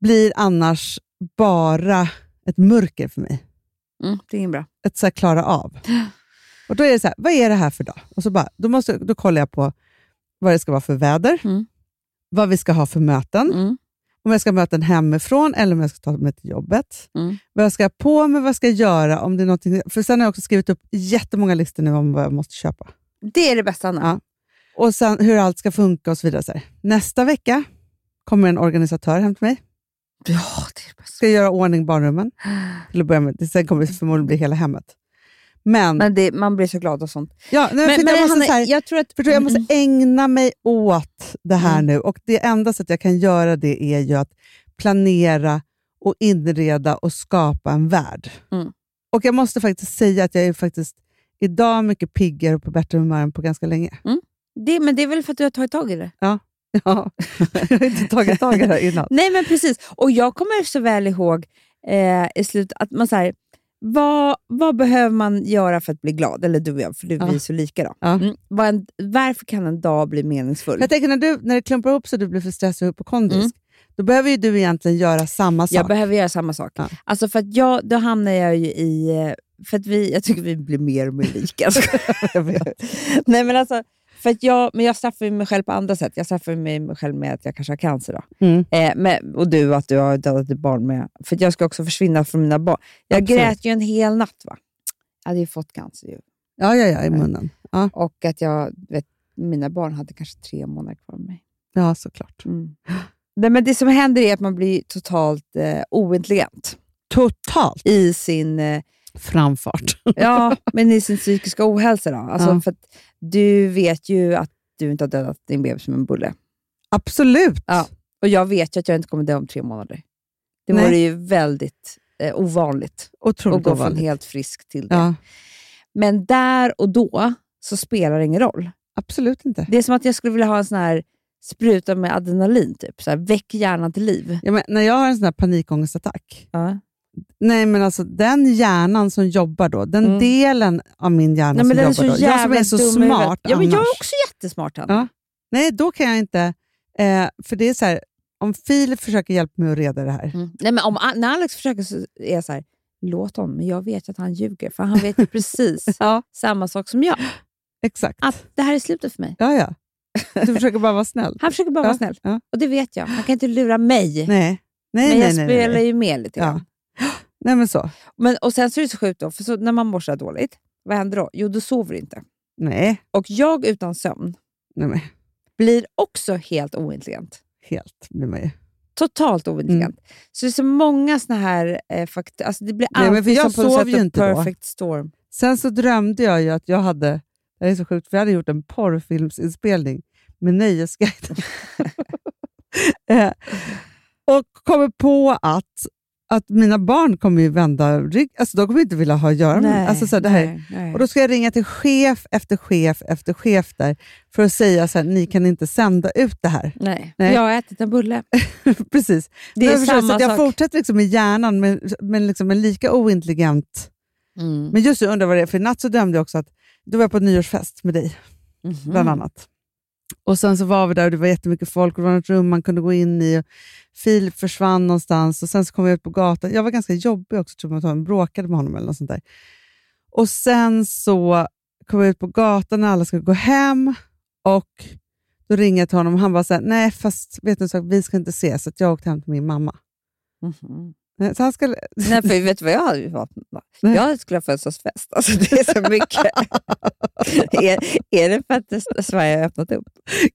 Speaker 2: blir annars bara ett mörker för mig
Speaker 3: Mm. Det är inget bra.
Speaker 2: att så här, klara
Speaker 3: <gasps>
Speaker 2: av. Och Då är det så här, vad är det här för dag? Och så bara, då, måste, då kollar jag på vad det ska vara för väder,
Speaker 3: Mm.
Speaker 2: vad vi ska ha för möten,
Speaker 3: Mm.
Speaker 2: om jag ska ha möten hemifrån eller om jag ska ta mig till jobbet.
Speaker 3: Mm.
Speaker 2: Vad jag ska ha på mig, vad jag ska göra. Om det är någonting, för Sen har jag också skrivit upp jättemånga listor nu om vad jag måste köpa.
Speaker 3: Det är det bästa, Anna.
Speaker 2: Ja. Och sen hur allt ska funka och så vidare. Så här. Nästa vecka kommer en organisatör hem till mig.
Speaker 3: Ja, det är det bästa.
Speaker 2: Ska göra ordning barnrummen. Till att börja med. Sen kommer det förmodligen bli hela hemmet. Men,
Speaker 3: Men det, man blir så glad och sånt.
Speaker 2: ja, nej, för
Speaker 3: Men, men
Speaker 2: jag, måste,
Speaker 3: Hanna,
Speaker 2: så här,
Speaker 3: jag tror att...
Speaker 2: Förstår, du, jag måste
Speaker 3: Mm,
Speaker 2: ägna mig åt det här
Speaker 3: Mm.
Speaker 2: nu och det enda sättet jag kan göra det är ju att planera och inreda och skapa en värld.
Speaker 3: Mm.
Speaker 2: Och jag måste faktiskt säga att jag är faktiskt idag mycket piggare och på bättre humör än på ganska
Speaker 3: <laughs>
Speaker 2: länge.
Speaker 3: det, men det är väl för att du har tagit tag i det?
Speaker 2: Ja, jag har inte tagit tag i det här innan.
Speaker 3: <laughs> Nej, men precis. Och jag kommer så väl ihåg eh, i slutet att man så här, vad, vad behöver man göra för att bli glad? Eller du och jag, för du,
Speaker 2: Ja.
Speaker 3: vi är så lika. Då.
Speaker 2: Ja.
Speaker 3: Mm. Vad en, varför kan en dag bli meningsfull?
Speaker 2: Jag tänker när, du, när det klumpar ihop så du blir för stressad och hypokondrisk, då behöver ju du egentligen göra samma sak.
Speaker 3: Mm. Jag behöver göra samma sak.
Speaker 2: Ja.
Speaker 3: Alltså för att jag, då hamnar jag ju i... eh, För att vi, <laughs> jag tycker vi blir mer och mer lika. Alltså.
Speaker 2: Jag vet.
Speaker 3: Nej, men alltså, För att jag, men jag straffar ju mig själv på andra sätt. Jag straffar ju mig själv med att jag kanske har cancer. Då.
Speaker 2: Mm.
Speaker 3: Eh, men, och du, att du har dödat ditt barn med. För att jag ska också försvinna från mina barn. Jag
Speaker 2: Absolut.
Speaker 3: grät ju en hel natt. va? Jag hade ju fått cancer ju.
Speaker 2: Ja, ja, ja, i munnen. Ja,
Speaker 3: Och att jag, vet, mina barn hade kanske tre månader kvar med mig. Mm.
Speaker 2: ja såklart.
Speaker 3: <gasps> Nej, men det som händer är att man blir totalt eh, ointelligent
Speaker 2: Totalt
Speaker 3: i sin, eh,
Speaker 2: framfart. <laughs>
Speaker 3: ja, men i sin psykiska ohälsa. Då. Alltså,
Speaker 2: Ja.
Speaker 3: för att du vet ju att du inte har dödat din bebis med en bulle.
Speaker 2: Absolut.
Speaker 3: Ja. Och jag vet ju att jag inte kommer dö om tre månader. Det
Speaker 2: Nej.
Speaker 3: vore ju väldigt eh, ovanligt att
Speaker 2: Otroligt
Speaker 3: gå från
Speaker 2: ovanligt.
Speaker 3: helt frisk till det.
Speaker 2: Ja,
Speaker 3: Men där och då så spelar det ingen roll.
Speaker 2: absolut inte.
Speaker 3: Det är som att jag skulle vilja ha en sån här spruta med adrenalin, typ. Så här, väck hjärnan till liv.
Speaker 2: Ja, men när jag har en sån här panikångestattack,
Speaker 3: Ja.
Speaker 2: nej, men alltså, den hjärnan som jobbar då, den
Speaker 3: Mm.
Speaker 2: delen av min hjärna
Speaker 3: Nej, men
Speaker 2: som
Speaker 3: den är
Speaker 2: jobbar
Speaker 3: så
Speaker 2: då, jag som
Speaker 3: jävla
Speaker 2: är så
Speaker 3: dum i huvudet.
Speaker 2: smart
Speaker 3: ja, men
Speaker 2: annars.
Speaker 3: Jag är också jättesmart. Hanna.
Speaker 2: Ja. Nej, då kan jag inte. Eh, för det är så här, om Filip försöker hjälpa mig att reda det här,
Speaker 3: Mm. Nej, men om, när Alex försöker så är jag så här, låt honom, men jag vet att han ljuger. För
Speaker 2: <laughs>
Speaker 3: han vet ju precis
Speaker 2: Ja.
Speaker 3: samma sak som jag.
Speaker 2: exakt.
Speaker 3: Att det här är slutet för mig.
Speaker 2: Ja, ja. Du försöker bara vara snäll.
Speaker 3: <laughs> Han försöker bara
Speaker 2: Ja,
Speaker 3: vara snäll.
Speaker 2: ja.
Speaker 3: Och det vet jag. Han kan inte lura
Speaker 2: Nej,
Speaker 3: mig.
Speaker 2: nej,
Speaker 3: men
Speaker 2: nej.
Speaker 3: jag
Speaker 2: nej, nej,
Speaker 3: spelar
Speaker 2: nej.
Speaker 3: ju med lite grann.
Speaker 2: Ja. <gasps> nej men så.
Speaker 3: Men, och sen så är det så sjukt då, för så, när man mår så här dåligt, vad händer då? Jo, du sover inte.
Speaker 2: Nej,
Speaker 3: Och jag utan sömn
Speaker 2: nej men
Speaker 3: blir också helt ointelligent.
Speaker 2: helt blir man ju.
Speaker 3: Totalt ointelligent. Så det är så många såna här eh, faktorer. Alltså det blir
Speaker 2: Mm. Nej, men för
Speaker 3: alltid
Speaker 2: jag
Speaker 3: som på något
Speaker 2: sov
Speaker 3: sätt
Speaker 2: ju
Speaker 3: en
Speaker 2: inte då.
Speaker 3: perfect storm.
Speaker 2: Sen så drömde jag ju att jag hade, det här är så sjukt, för jag hade gjort en porrfilmsinspelning med Nöjesguiden. <laughs> eh, och kommer på att, att mina barn kommer ju vända rygg, alltså de kommer inte vilja ha att göra med mig. alltså, så här, det här.
Speaker 3: nej, nej.
Speaker 2: Och då ska jag ringa till chef efter chef efter chef där för att säga så här, ni kan inte sända ut det här.
Speaker 3: nej.
Speaker 2: Nej.
Speaker 3: Jag har ätit en bulle.
Speaker 2: <laughs> Precis.
Speaker 3: Det
Speaker 2: Men
Speaker 3: är
Speaker 2: jag förstår, så
Speaker 3: samma
Speaker 2: att jag
Speaker 3: sak.
Speaker 2: fortsätter liksom i hjärnan med, med liksom en lika ointelligent...
Speaker 3: Mm.
Speaker 2: Men just jag undrar vad det är, för i natt så drömde jag också att du var jag på en nyårsfest med dig,
Speaker 3: Mhm.
Speaker 2: bland annat. Och sen så var vi där och det var jättemycket folk och det var något rum man kunde gå in i. Och Filip försvann någonstans och sen så kom jag ut på gatan. Jag var ganska jobbig också, tror jag, man bråkade med honom eller något sånt där. Och sen så kom jag ut på gatan när alla skulle gå hem och då ringer jag till honom och han bara så här, nej fast vet du en sak, vi ska inte ses, så att jag åkte hem till min mamma.
Speaker 3: Mhm.
Speaker 2: Nej, Så han skulle...
Speaker 3: <laughs> Nej, för vet du vad jag hade varit? Jag skulle ha födelsedagsfest. Alltså, det är så mycket.
Speaker 2: <laughs>
Speaker 3: är, är det för att det- Sverige har öppnat upp?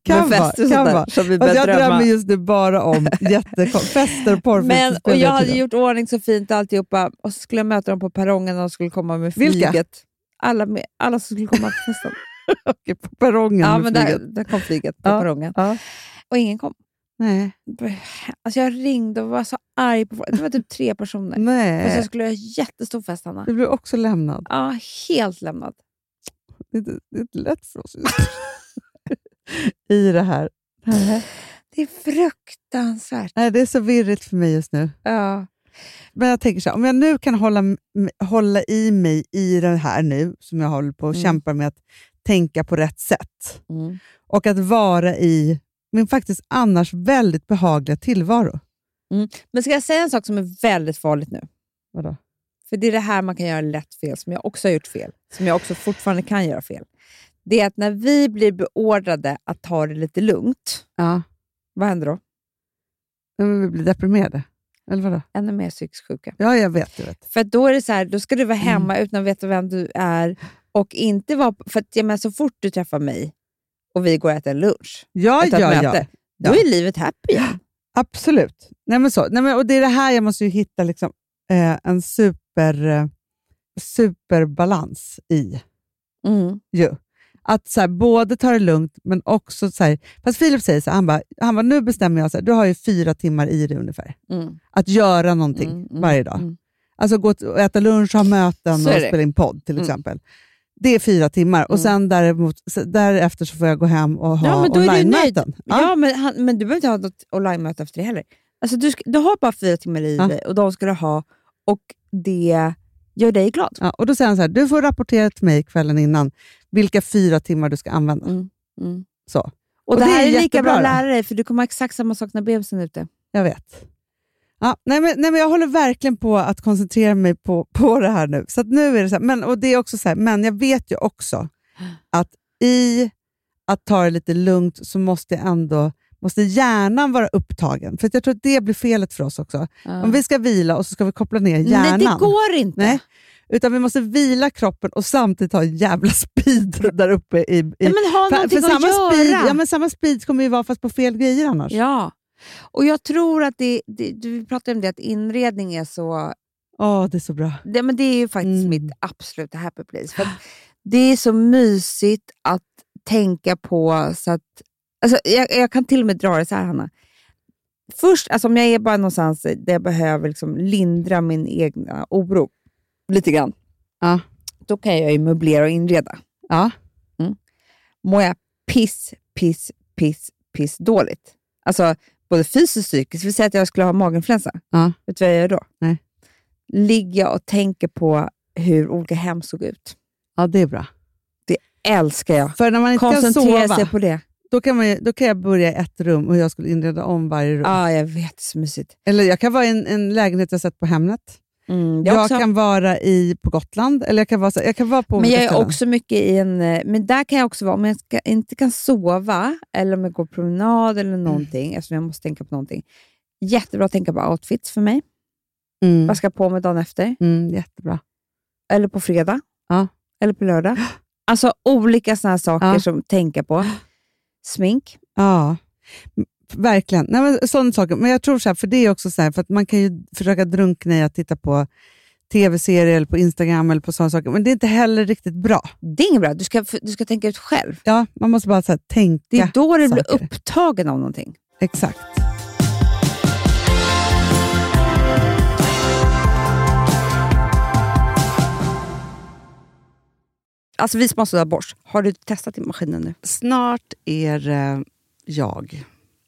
Speaker 2: Kan
Speaker 3: Med
Speaker 2: vara,
Speaker 3: fester och
Speaker 2: kan
Speaker 3: sånt där,
Speaker 2: vara.
Speaker 3: Som vi
Speaker 2: Alltså,
Speaker 3: börjar
Speaker 2: jag drömmer
Speaker 3: drömma.
Speaker 2: just nu bara om
Speaker 3: <laughs>
Speaker 2: jättekon- fester typ. och
Speaker 3: Men,
Speaker 2: porrfilmsinspelningar.
Speaker 3: och jag hade
Speaker 2: tydligen.
Speaker 3: gjort ordning så fint och alltihopa och så skulle jag möta dem på perrongen när de skulle komma med
Speaker 2: Vilka?
Speaker 3: flyget. Alla, med, alla som skulle komma
Speaker 2: <laughs>
Speaker 3: på festen.
Speaker 2: Okej, på perrongen
Speaker 3: ja,
Speaker 2: med
Speaker 3: men där,
Speaker 2: flyget.
Speaker 3: där kom flyget på
Speaker 2: Ja,
Speaker 3: perrongen.
Speaker 2: ja.
Speaker 3: Och ingen kom.
Speaker 2: Nej.
Speaker 3: Alltså, jag ringde och var så arg på folk. Det var typ tre personer. Och så
Speaker 2: Nej.
Speaker 3: skulle jag ha jättestor fest, Hanna.
Speaker 2: Du blev också lämnad.
Speaker 3: Ja, helt lämnad.
Speaker 2: Det är inte, det är inte lätt för oss just nu. <laughs> i det här.
Speaker 3: Det är fruktansvärt.
Speaker 2: Nej, det är så virrigt för mig just nu.
Speaker 3: Ja.
Speaker 2: Men jag tänker så här, om jag nu kan hålla, m- hålla i mig i det här nu, som jag håller på och
Speaker 3: Mm.
Speaker 2: kämpar med att tänka på rätt sätt och att vara i min faktiskt annars väldigt behagliga tillvaro.
Speaker 3: Men ska jag säga en sak som är väldigt farligt nu?
Speaker 2: Vadå?
Speaker 3: För det är det här man kan göra lätt fel, som jag också har gjort fel. Som jag också fortfarande kan göra fel. Det är att när vi blir beordrade att ta det lite lugnt,
Speaker 2: Ja.
Speaker 3: vad händer då?
Speaker 2: Men vi blir deprimerade. Eller vadå?
Speaker 3: Ännu mer psykisk sjuka.
Speaker 2: Ja, jag vet. Jag vet.
Speaker 3: För då är det så här, då ska du vara
Speaker 2: Mm.
Speaker 3: hemma utan att veta vem du är. Och inte vara, för att, jag menar, så fort du träffar mig och vi går och äter en lunch,
Speaker 2: Ja,
Speaker 3: ett
Speaker 2: ja, ja.
Speaker 3: möte, då
Speaker 2: Ja.
Speaker 3: är livet happy igen.
Speaker 2: Absolut. Nej, men så. Nej, men, och det är det här jag måste ju hitta liksom, eh, en super, eh, superbalans i.
Speaker 3: Mm.
Speaker 2: Ju. Att så här, både ta det lugnt, men också... Så här, fast Filip säger så här, han bara, han bara, nu bestämmer jag, så här, du har ju fyra timmar i dig ungefär.
Speaker 3: Mm.
Speaker 2: Att göra någonting
Speaker 3: Mm, mm,
Speaker 2: varje dag.
Speaker 3: mm.
Speaker 2: Alltså gå och äta lunch, ha möten
Speaker 3: Så
Speaker 2: och
Speaker 3: är det.
Speaker 2: spela in podd till
Speaker 3: Mm.
Speaker 2: exempel. Det är fyra timmar och
Speaker 3: Mm.
Speaker 2: sen däremot, så- därefter så får jag gå hem och ha
Speaker 3: Ja, men då är du nöjd.
Speaker 2: online-möten. Ja.
Speaker 3: Ja, men, han, men du behöver inte ha något online-möte efter det heller. Alltså, du, ska, du har bara fyra timmar i
Speaker 2: Ja.
Speaker 3: dig och de ska du ha och det gör dig glad.
Speaker 2: Ja, och då säger han så här, du får rapportera till mig kvällen innan vilka fyra timmar du ska använda.
Speaker 3: Mm, mm.
Speaker 2: Så,
Speaker 3: Och,
Speaker 2: Och
Speaker 3: det,
Speaker 2: det
Speaker 3: här
Speaker 2: är
Speaker 3: är lika bra
Speaker 2: jättebra
Speaker 3: att
Speaker 2: då.
Speaker 3: lära dig för du kommer ha exakt samma sak när bebisen är ute.
Speaker 2: jag vet. Ja, nej, men, nej, men jag håller verkligen på att koncentrera mig
Speaker 7: <laughs>
Speaker 2: på, på det här nu. Så att nu är det så här, men, och det är också så här, men jag vet ju också att i
Speaker 7: att ta det lite lugnt så måste jag ändå måste hjärnan vara upptagen. För att jag tror att det blir felet för oss också. Om vi ska vila och så ska vi koppla ner hjärnan.
Speaker 3: Mm. Nej, det går inte.
Speaker 7: Nej. Utan vi måste vila kroppen och samtidigt ha en jävla <laughs> speed där uppe. I, i.
Speaker 3: Nej, men ha
Speaker 7: för,
Speaker 3: någonting
Speaker 7: för samma
Speaker 3: att göra.
Speaker 7: speed, ja, men samma speed kommer ju vara fast på fel grejer annars.
Speaker 3: Ja. Och jag tror att det, det, du pratade om det, att inredning är så...
Speaker 7: Åh, det är så bra.
Speaker 3: Det, men det är ju faktiskt
Speaker 7: Mm.
Speaker 3: mitt absoluta happy place. För att det är så mysigt att tänka på så att... Alltså, jag, jag kan till och med dra det så här, Hanna. Först, alltså, om jag är bara någonstans där jag behöver liksom lindra min egna oro lite grann,
Speaker 7: Ja.
Speaker 3: då kan jag ju möblera och inreda. Mm.
Speaker 7: Ja.
Speaker 3: mår jag piss, piss, piss, piss dåligt. Alltså både fysiskt och psykiskt. Vi säger att jag skulle ha maginfluensa.
Speaker 7: Ja.
Speaker 3: Vet du vad jag gör då?
Speaker 7: Nej.
Speaker 3: Ligger jag och tänker på hur olika hem såg ut.
Speaker 7: ja, det är bra.
Speaker 3: Älskar jag.
Speaker 7: För när man inte kan
Speaker 3: Koncentrera sig
Speaker 7: sova,
Speaker 3: på det.
Speaker 7: då kan, man, ju- då kan jag börja i ett rum och jag skulle inreda om varje rum.
Speaker 3: Ja, ah, jag vet. Så mysigt.
Speaker 7: Eller jag kan vara i en, en lägenhet jag sett på Hemnet.
Speaker 3: Mm, jag
Speaker 7: Jag,
Speaker 3: också.
Speaker 7: kan vara i, på Gotland, eller jag kan vara, så, jag kan vara på
Speaker 3: men
Speaker 7: olika
Speaker 3: jag är
Speaker 7: ställen.
Speaker 3: också mycket i en... eh, Men där kan jag också vara, om jag ska, inte kan sova eller om jag går promenad eller
Speaker 7: Mm.
Speaker 3: någonting, eftersom jag måste tänka på någonting. Jättebra att tänka på outfits för mig.
Speaker 7: Mm.
Speaker 3: Vad ska jag på mig dagen efter?
Speaker 7: Mm, jättebra.
Speaker 3: eller på fredag,
Speaker 7: Ja.
Speaker 3: eller på lördag.
Speaker 7: <gasps>
Speaker 3: Alltså olika sådana saker
Speaker 7: Ja.
Speaker 3: som tänka
Speaker 7: <gasps>
Speaker 3: på. Smink.
Speaker 7: Ja, M- verkligen. Nej, men, sådana saker. Men jag tror så här, för det är också så här, för att man kan ju försöka drunkna i att titta på tv-serier eller på Instagram eller på sådana saker, men det är inte heller riktigt bra.
Speaker 3: Det är inget bra, du ska, du ska tänka ut själv.
Speaker 7: Ja, man måste bara så här, tänka.
Speaker 3: Det är då du blir
Speaker 7: saker.
Speaker 3: upptagen av någonting.
Speaker 7: Exakt.
Speaker 3: Alltså vi som har sådär borst, har du testat i maskinen nu?
Speaker 2: Snart är eh, jag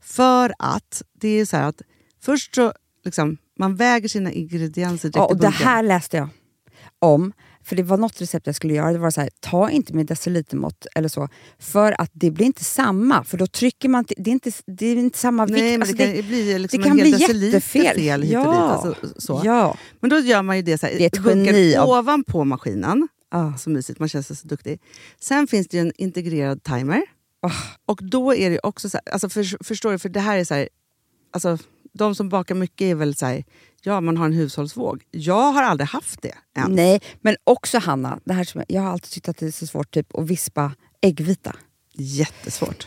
Speaker 2: För att det är så här att först så liksom, man väger sina ingredienser direkt
Speaker 3: Ja,
Speaker 2: i
Speaker 3: och det
Speaker 2: bunken.
Speaker 3: här läste jag om. För det var något recept jag skulle göra. Det var så här, ta inte med decilitermått eller så. För att det blir inte samma. För då trycker man... till- Det är inte, det är inte samma vikt.
Speaker 2: Nej, men
Speaker 3: Alltså,
Speaker 2: det kan ju bli liksom
Speaker 3: kan
Speaker 2: en hel
Speaker 3: bli
Speaker 2: deciliter
Speaker 3: jättefel.
Speaker 2: fel hit och dit.
Speaker 3: Ja.
Speaker 2: Alltså, så.
Speaker 3: Ja.
Speaker 2: Men då gör man ju det så här,
Speaker 3: Det är ett
Speaker 2: bunkar
Speaker 3: geni av-
Speaker 2: ovanpå maskinen.
Speaker 3: Ah.
Speaker 2: Så mysigt, man känns så duktig. Sen finns det ju en integrerad timer.
Speaker 3: Ah.
Speaker 2: Och då är det ju också så här, alltså för, förstår du, för det här är så här, alltså de som bakar mycket är väl så här, ja man har en hushållsvåg. Jag har aldrig haft det än.
Speaker 3: Nej, men också Hanna. Det här som jag, jag har alltid tyckt att det är så svårt typ, att vispa äggvita.
Speaker 2: Jättesvårt.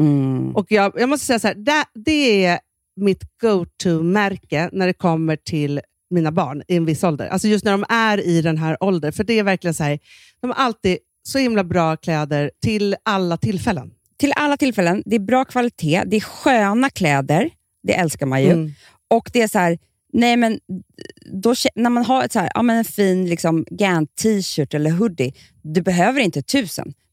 Speaker 3: Mm.
Speaker 2: Och jag, jag måste säga så här, det, det är mitt go-to-märke när det kommer till mina barn i en viss ålder. Alltså just när de är i den här åldern. För det är verkligen så här, de har alltid så himla bra kläder till alla tillfällen.
Speaker 3: Till alla tillfällen, det är bra kvalitet, det är sköna kläder, det älskar man ju.
Speaker 2: Mm.
Speaker 3: Och det är så här, nej men, då, kä- när man har ett så här, ja, men en fin liksom, Gant t-shirt eller hoodie, du behöver inte tusen.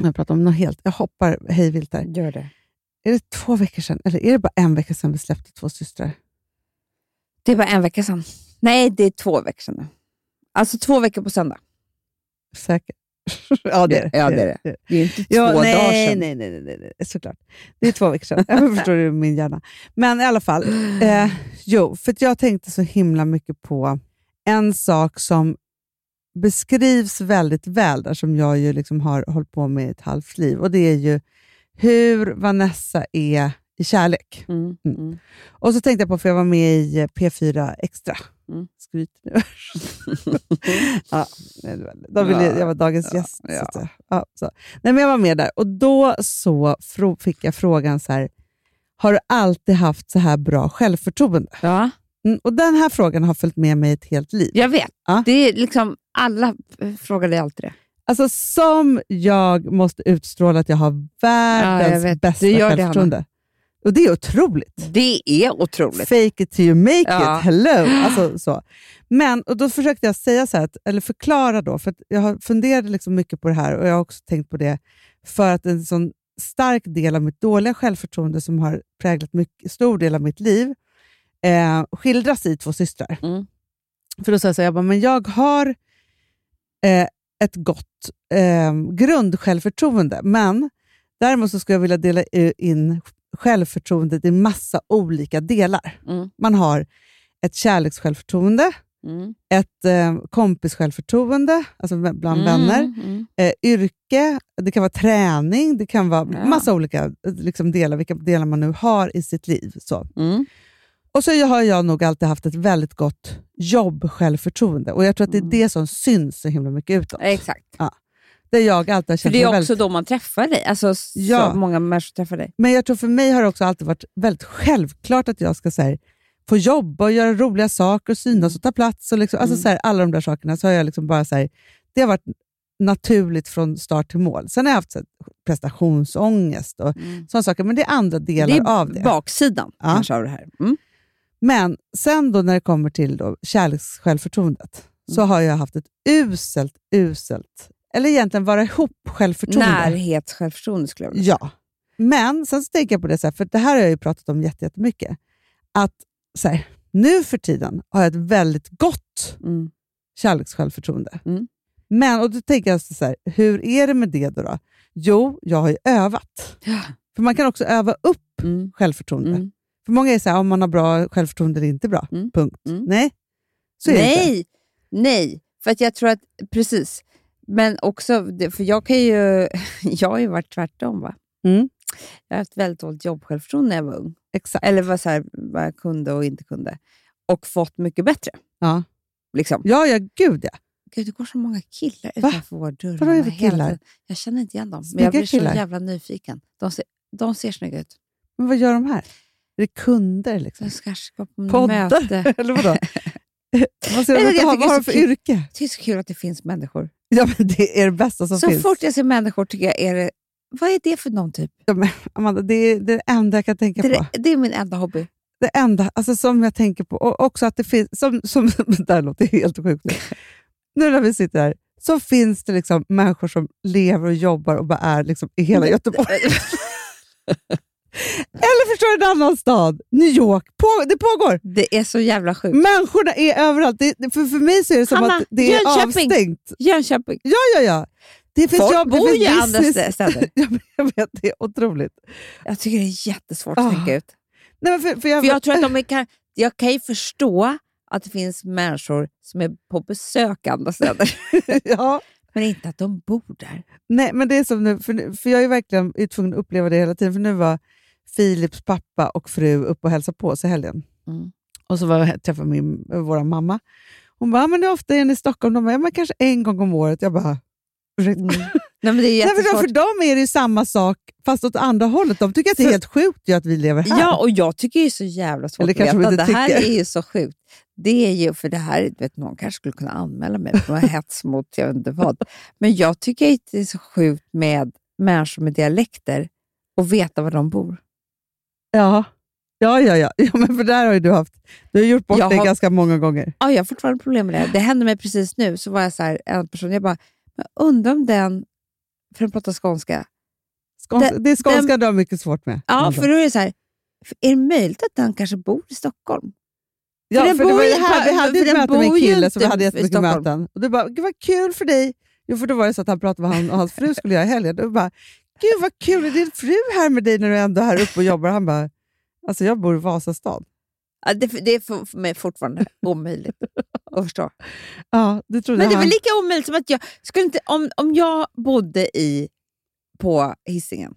Speaker 2: jag pratar om något helt. Jag hoppar hej vilt där.
Speaker 3: Gör det.
Speaker 2: Är det två veckor sedan, eller är det bara en vecka sedan vi släppte två systrar?
Speaker 3: Det var en vecka sedan. Nej, det är två veckor sedan nu. Alltså två veckor på söndag.
Speaker 2: Säkert. <laughs> ja, det är det.
Speaker 3: Ja, det är det. Det är inte
Speaker 2: Ja,
Speaker 3: två
Speaker 2: nej,
Speaker 3: dagar sedan.
Speaker 2: Nej, nej, nej, nej, nej, såklart. Det är två veckor sedan. Jag förstår det i min hjärna. Men i alla fall. Eh, jo, för att jag tänkte så himla mycket på en sak som beskrivs väldigt väl där, som jag ju liksom har hållit på med i ett halvt liv. Och det är ju hur Vanessa är i kärlek. Mm. Och så tänkte jag på, för jag var med i eh, P4 Extra.
Speaker 6: Mm.
Speaker 2: <laughs> Skryt
Speaker 6: <laughs>
Speaker 2: nu. ja, nej, det var- de ville,
Speaker 6: Ja,
Speaker 2: jag var dagens
Speaker 6: ja,
Speaker 2: gäst. Så
Speaker 6: ja.
Speaker 2: att, säga. ja, så. Nej, men jag var med där och då så fro- fick jag frågan så här, har du alltid haft så här bra självförtroende?
Speaker 3: Ja,
Speaker 2: Mm, och Den här frågan har följt med mig ett helt liv.
Speaker 3: jag vet.
Speaker 2: Ja.
Speaker 3: Det är liksom, alla eh, frågar dig alltid det.
Speaker 2: Alltså Som jag måste utstråla att jag har
Speaker 3: Ja, jag
Speaker 2: världens
Speaker 3: vet.
Speaker 2: bästa
Speaker 3: Du gör det,
Speaker 2: självförtroende. och det är otroligt.
Speaker 3: Det är otroligt.
Speaker 2: Fake it till you make
Speaker 3: Ja.
Speaker 2: it, hello! Alltså, så. Men och då försökte jag säga så här att, eller förklara då, för att jag har- funderade liksom mycket på det här och jag har också tänkt på det för att en sån stark del av mitt dåliga självförtroende som har präglat mycket, stor del av mitt liv eh, skildras i Två systrar.
Speaker 6: Mm.
Speaker 2: För då sa jag så här, jag, bara, men jag har eh, ett gott eh, grundsjälvförtroende, men däremot så skulle jag vilja dela i- in självförtroendet i massa olika delar.
Speaker 6: Mm.
Speaker 2: Man har ett kärlekssjälvförtroende,
Speaker 6: Mm.
Speaker 2: ett eh, kompissjälvförtroende, alltså bland
Speaker 6: Mm,
Speaker 2: vänner,
Speaker 6: Mm.
Speaker 2: eh, yrke, det kan vara träning, det kan vara
Speaker 6: Ja.
Speaker 2: massa olika eh, liksom, delar, vilka delar man nu har i sitt liv. Så.
Speaker 6: Mm.
Speaker 2: Och så har jag nog alltid haft ett väldigt gott jobb-självförtroende och jag tror att det är det som syns så himla mycket utåt.
Speaker 3: Exakt.
Speaker 2: Där jag alltid har
Speaker 3: För
Speaker 2: känt
Speaker 3: det
Speaker 2: mig
Speaker 3: är
Speaker 2: väldigt...
Speaker 3: också då man träffar dig. Alltså, så
Speaker 2: Ja.
Speaker 3: många människor träffar dig.
Speaker 2: Men jag tror för mig har det också alltid varit väldigt självklart att jag ska så här, få jobba och göra roliga saker och synas och ta plats. Och liksom, alltså,
Speaker 3: Mm.
Speaker 2: så här, alla de där sakerna. Så har jag liksom bara så här, det har varit naturligt från start till mål. Sen har jag haft så här, prestationsångest och sådana saker. Men det är andra delar
Speaker 3: Mm. Det är
Speaker 2: av det.
Speaker 3: baksidan
Speaker 2: Ja.
Speaker 3: kanske av det här. Mm.
Speaker 2: Men sen då när det kommer till då kärleks-självförtroendet så
Speaker 3: Mm.
Speaker 2: har jag haft ett uselt, uselt, eller egentligen vara ihop självförtroende.
Speaker 3: Närhetssjälvförtroende skulle jag vilja
Speaker 2: Ja. Men sen så tänker jag på det, så här, för det här har jag ju pratat om jätte- jättemycket, att så här, nu för tiden har jag ett väldigt gott
Speaker 3: säga. Mm.
Speaker 2: kärleks-självförtroende.
Speaker 3: Mm.
Speaker 2: Men, och då tänker jag så här, hur är det med det då? då? Jo, jag har ju övat.
Speaker 3: Ja.
Speaker 2: För man kan också öva upp
Speaker 3: Mm.
Speaker 2: självförtroende.
Speaker 3: Mm.
Speaker 2: För många är så här, om man har bra självförtroende eller inte bra.
Speaker 3: Mm.
Speaker 2: Punkt.
Speaker 3: Mm.
Speaker 2: Nej, så är det inte.
Speaker 3: Nej, nej. För att jag tror att, precis. Men också, det- för jag kan ju, <laughs> jag har ju varit tvärtom va?
Speaker 2: Mm.
Speaker 3: Jag har haft väldigt dåligt jobbsjälvförtroende när jag var ung.
Speaker 2: Exakt.
Speaker 3: Eller var så här, vad jag kunde och inte kunde. Och fått mycket bättre.
Speaker 2: Ja.
Speaker 3: Liksom.
Speaker 2: Ja, ja, gud ja.
Speaker 3: Gud, det går så många killar utanför våra dörrar.
Speaker 2: Vadå är det för
Speaker 3: hela
Speaker 2: killar?
Speaker 3: tiden. Jag känner inte igen dem, men
Speaker 2: Snygga
Speaker 3: jag blir
Speaker 2: killar.
Speaker 3: så jävla nyfiken. De ser, de ser snygga ut.
Speaker 2: Men vad gör de här? Är det kunder liksom?
Speaker 3: De ska kanske gå på
Speaker 2: Poddar?
Speaker 3: möte.
Speaker 2: <laughs>
Speaker 3: <laughs>
Speaker 2: Eller vadå? vad ska de
Speaker 3: Eller jag
Speaker 2: inte ha? Vad har
Speaker 3: tycker det
Speaker 2: de
Speaker 3: är
Speaker 2: för
Speaker 3: så kul.
Speaker 2: yrke?
Speaker 3: Det är så kul att det finns människor.
Speaker 2: Ja, men det är det bästa som
Speaker 3: så
Speaker 2: finns.
Speaker 3: fort jag ser människor tycker jag, är det, vad är det för någon typ?
Speaker 2: Amanda, det är det enda jag kan tänka
Speaker 3: Det
Speaker 2: på.
Speaker 3: är, det är min enda hobby. <laughs>
Speaker 2: Det enda alltså, som jag tänker på. Och också att det finns, som, som, <laughs> det här låter helt sjukt. nu. nu när vi sitter här, så finns det liksom människor som lever och jobbar och bara är liksom i hela Göteborg. <laughs> Eller förstår du, en annan stad. New York. På, det pågår.
Speaker 3: Det är så jävla
Speaker 2: Mm.
Speaker 3: sjukt.
Speaker 2: Människorna är överallt. Det, det- för, för mig så är det som
Speaker 3: Hanna,
Speaker 2: att det är
Speaker 3: Jönköping.
Speaker 2: avstängt.
Speaker 3: Jönköping.
Speaker 2: Ja, ja, ja. Det finns
Speaker 3: Folk
Speaker 2: jobb, det
Speaker 3: bor
Speaker 2: finns
Speaker 3: ju i andra
Speaker 2: business. <laughs>
Speaker 3: stä- städer.
Speaker 2: Ja, men jag vet, det är otroligt.
Speaker 3: Jag tycker det är jättesvårt att
Speaker 2: Ah.
Speaker 3: tänka ut.
Speaker 2: Nej, men för, för jag,
Speaker 3: För jag, tror att
Speaker 2: <laughs>
Speaker 3: de är, kan- jag kan ju förstå att det finns människor som är på besök i
Speaker 2: <laughs>
Speaker 3: andra städer,
Speaker 2: ja,
Speaker 3: men inte att de bor
Speaker 2: <laughs>
Speaker 3: där.
Speaker 2: nej, men det är som nu, för, nu- för jag är verkligen är tvungen att uppleva det hela tiden. För nu var Filips pappa och fru uppe och hälsade på oss i helgen.
Speaker 3: Mm.
Speaker 2: Och så var jag, träffade min, vår mamma. Hon bara, "Ja, men hur ofta är ni i Stockholm? De bara, "Ja, men kanske en gång om året. Jag bara, ursäkta.
Speaker 3: Nej, men det är
Speaker 2: Nej, för, dem,
Speaker 3: Mm, jättesvårt.
Speaker 2: för dem är det ju samma sak, fast åt andra hållet. De tycker att det är
Speaker 3: För-
Speaker 2: helt sjukt ju att vi lever här.
Speaker 3: <laughs> Ja, och jag tycker det är så jävla svårt
Speaker 2: Eller
Speaker 3: att
Speaker 2: kanske de
Speaker 3: veta. Det
Speaker 2: inte
Speaker 3: här
Speaker 2: tycker.
Speaker 3: är ju så sjukt. Det är ju, för det här, du vet, någon kanske skulle kunna anmäla mig för någon hets <laughs> mot jag vet inte vad. Men jag tycker inte det är så sjukt med människor med dialekter och veta var de bor.
Speaker 2: Ja, ja, ja. ja. ja men för där har ju du haft... Du har gjort bort
Speaker 3: Jag
Speaker 2: det
Speaker 3: har-
Speaker 2: ganska många gånger.
Speaker 3: Ja, jag har fortfarande problem med det. Det hände mig precis nu. Så var jag så här, en person, jag bara, "Men undrar om den, för den pratar skånska.
Speaker 2: Skåns... Det, är skånska
Speaker 3: den-
Speaker 2: du har mycket svårt med.
Speaker 3: Ja,
Speaker 2: Amanda.
Speaker 3: för då är det så här, är det möjligt att den kanske bor i Stockholm?
Speaker 2: ja,
Speaker 3: den
Speaker 2: för det
Speaker 3: bor
Speaker 2: var ju
Speaker 3: ju
Speaker 2: här,
Speaker 3: på-
Speaker 2: vi hade ju
Speaker 3: för
Speaker 2: ett
Speaker 3: den
Speaker 2: möte med en
Speaker 3: bor ju
Speaker 2: kille som vi
Speaker 3: inte
Speaker 2: hade
Speaker 3: i
Speaker 2: jättemycket
Speaker 3: Stockholm.
Speaker 2: möten. Och du bara, gud vad kul för dig. Jo, för då var det så att han pratade med han och hans fru skulle göra i helgen. Du bara, gud vad kul, är din fru här med dig när du ändå är här uppe och jobbar? Han bara, alltså jag bor i Vasastan.
Speaker 3: Ja, det, det är för, för mig fortfarande omöjligt att förstå.
Speaker 2: Ja, det trodde
Speaker 3: Men det är
Speaker 2: han.
Speaker 3: väl lika omöjligt som att jag... Skulle inte, om, om jag bodde i, på Hisingen,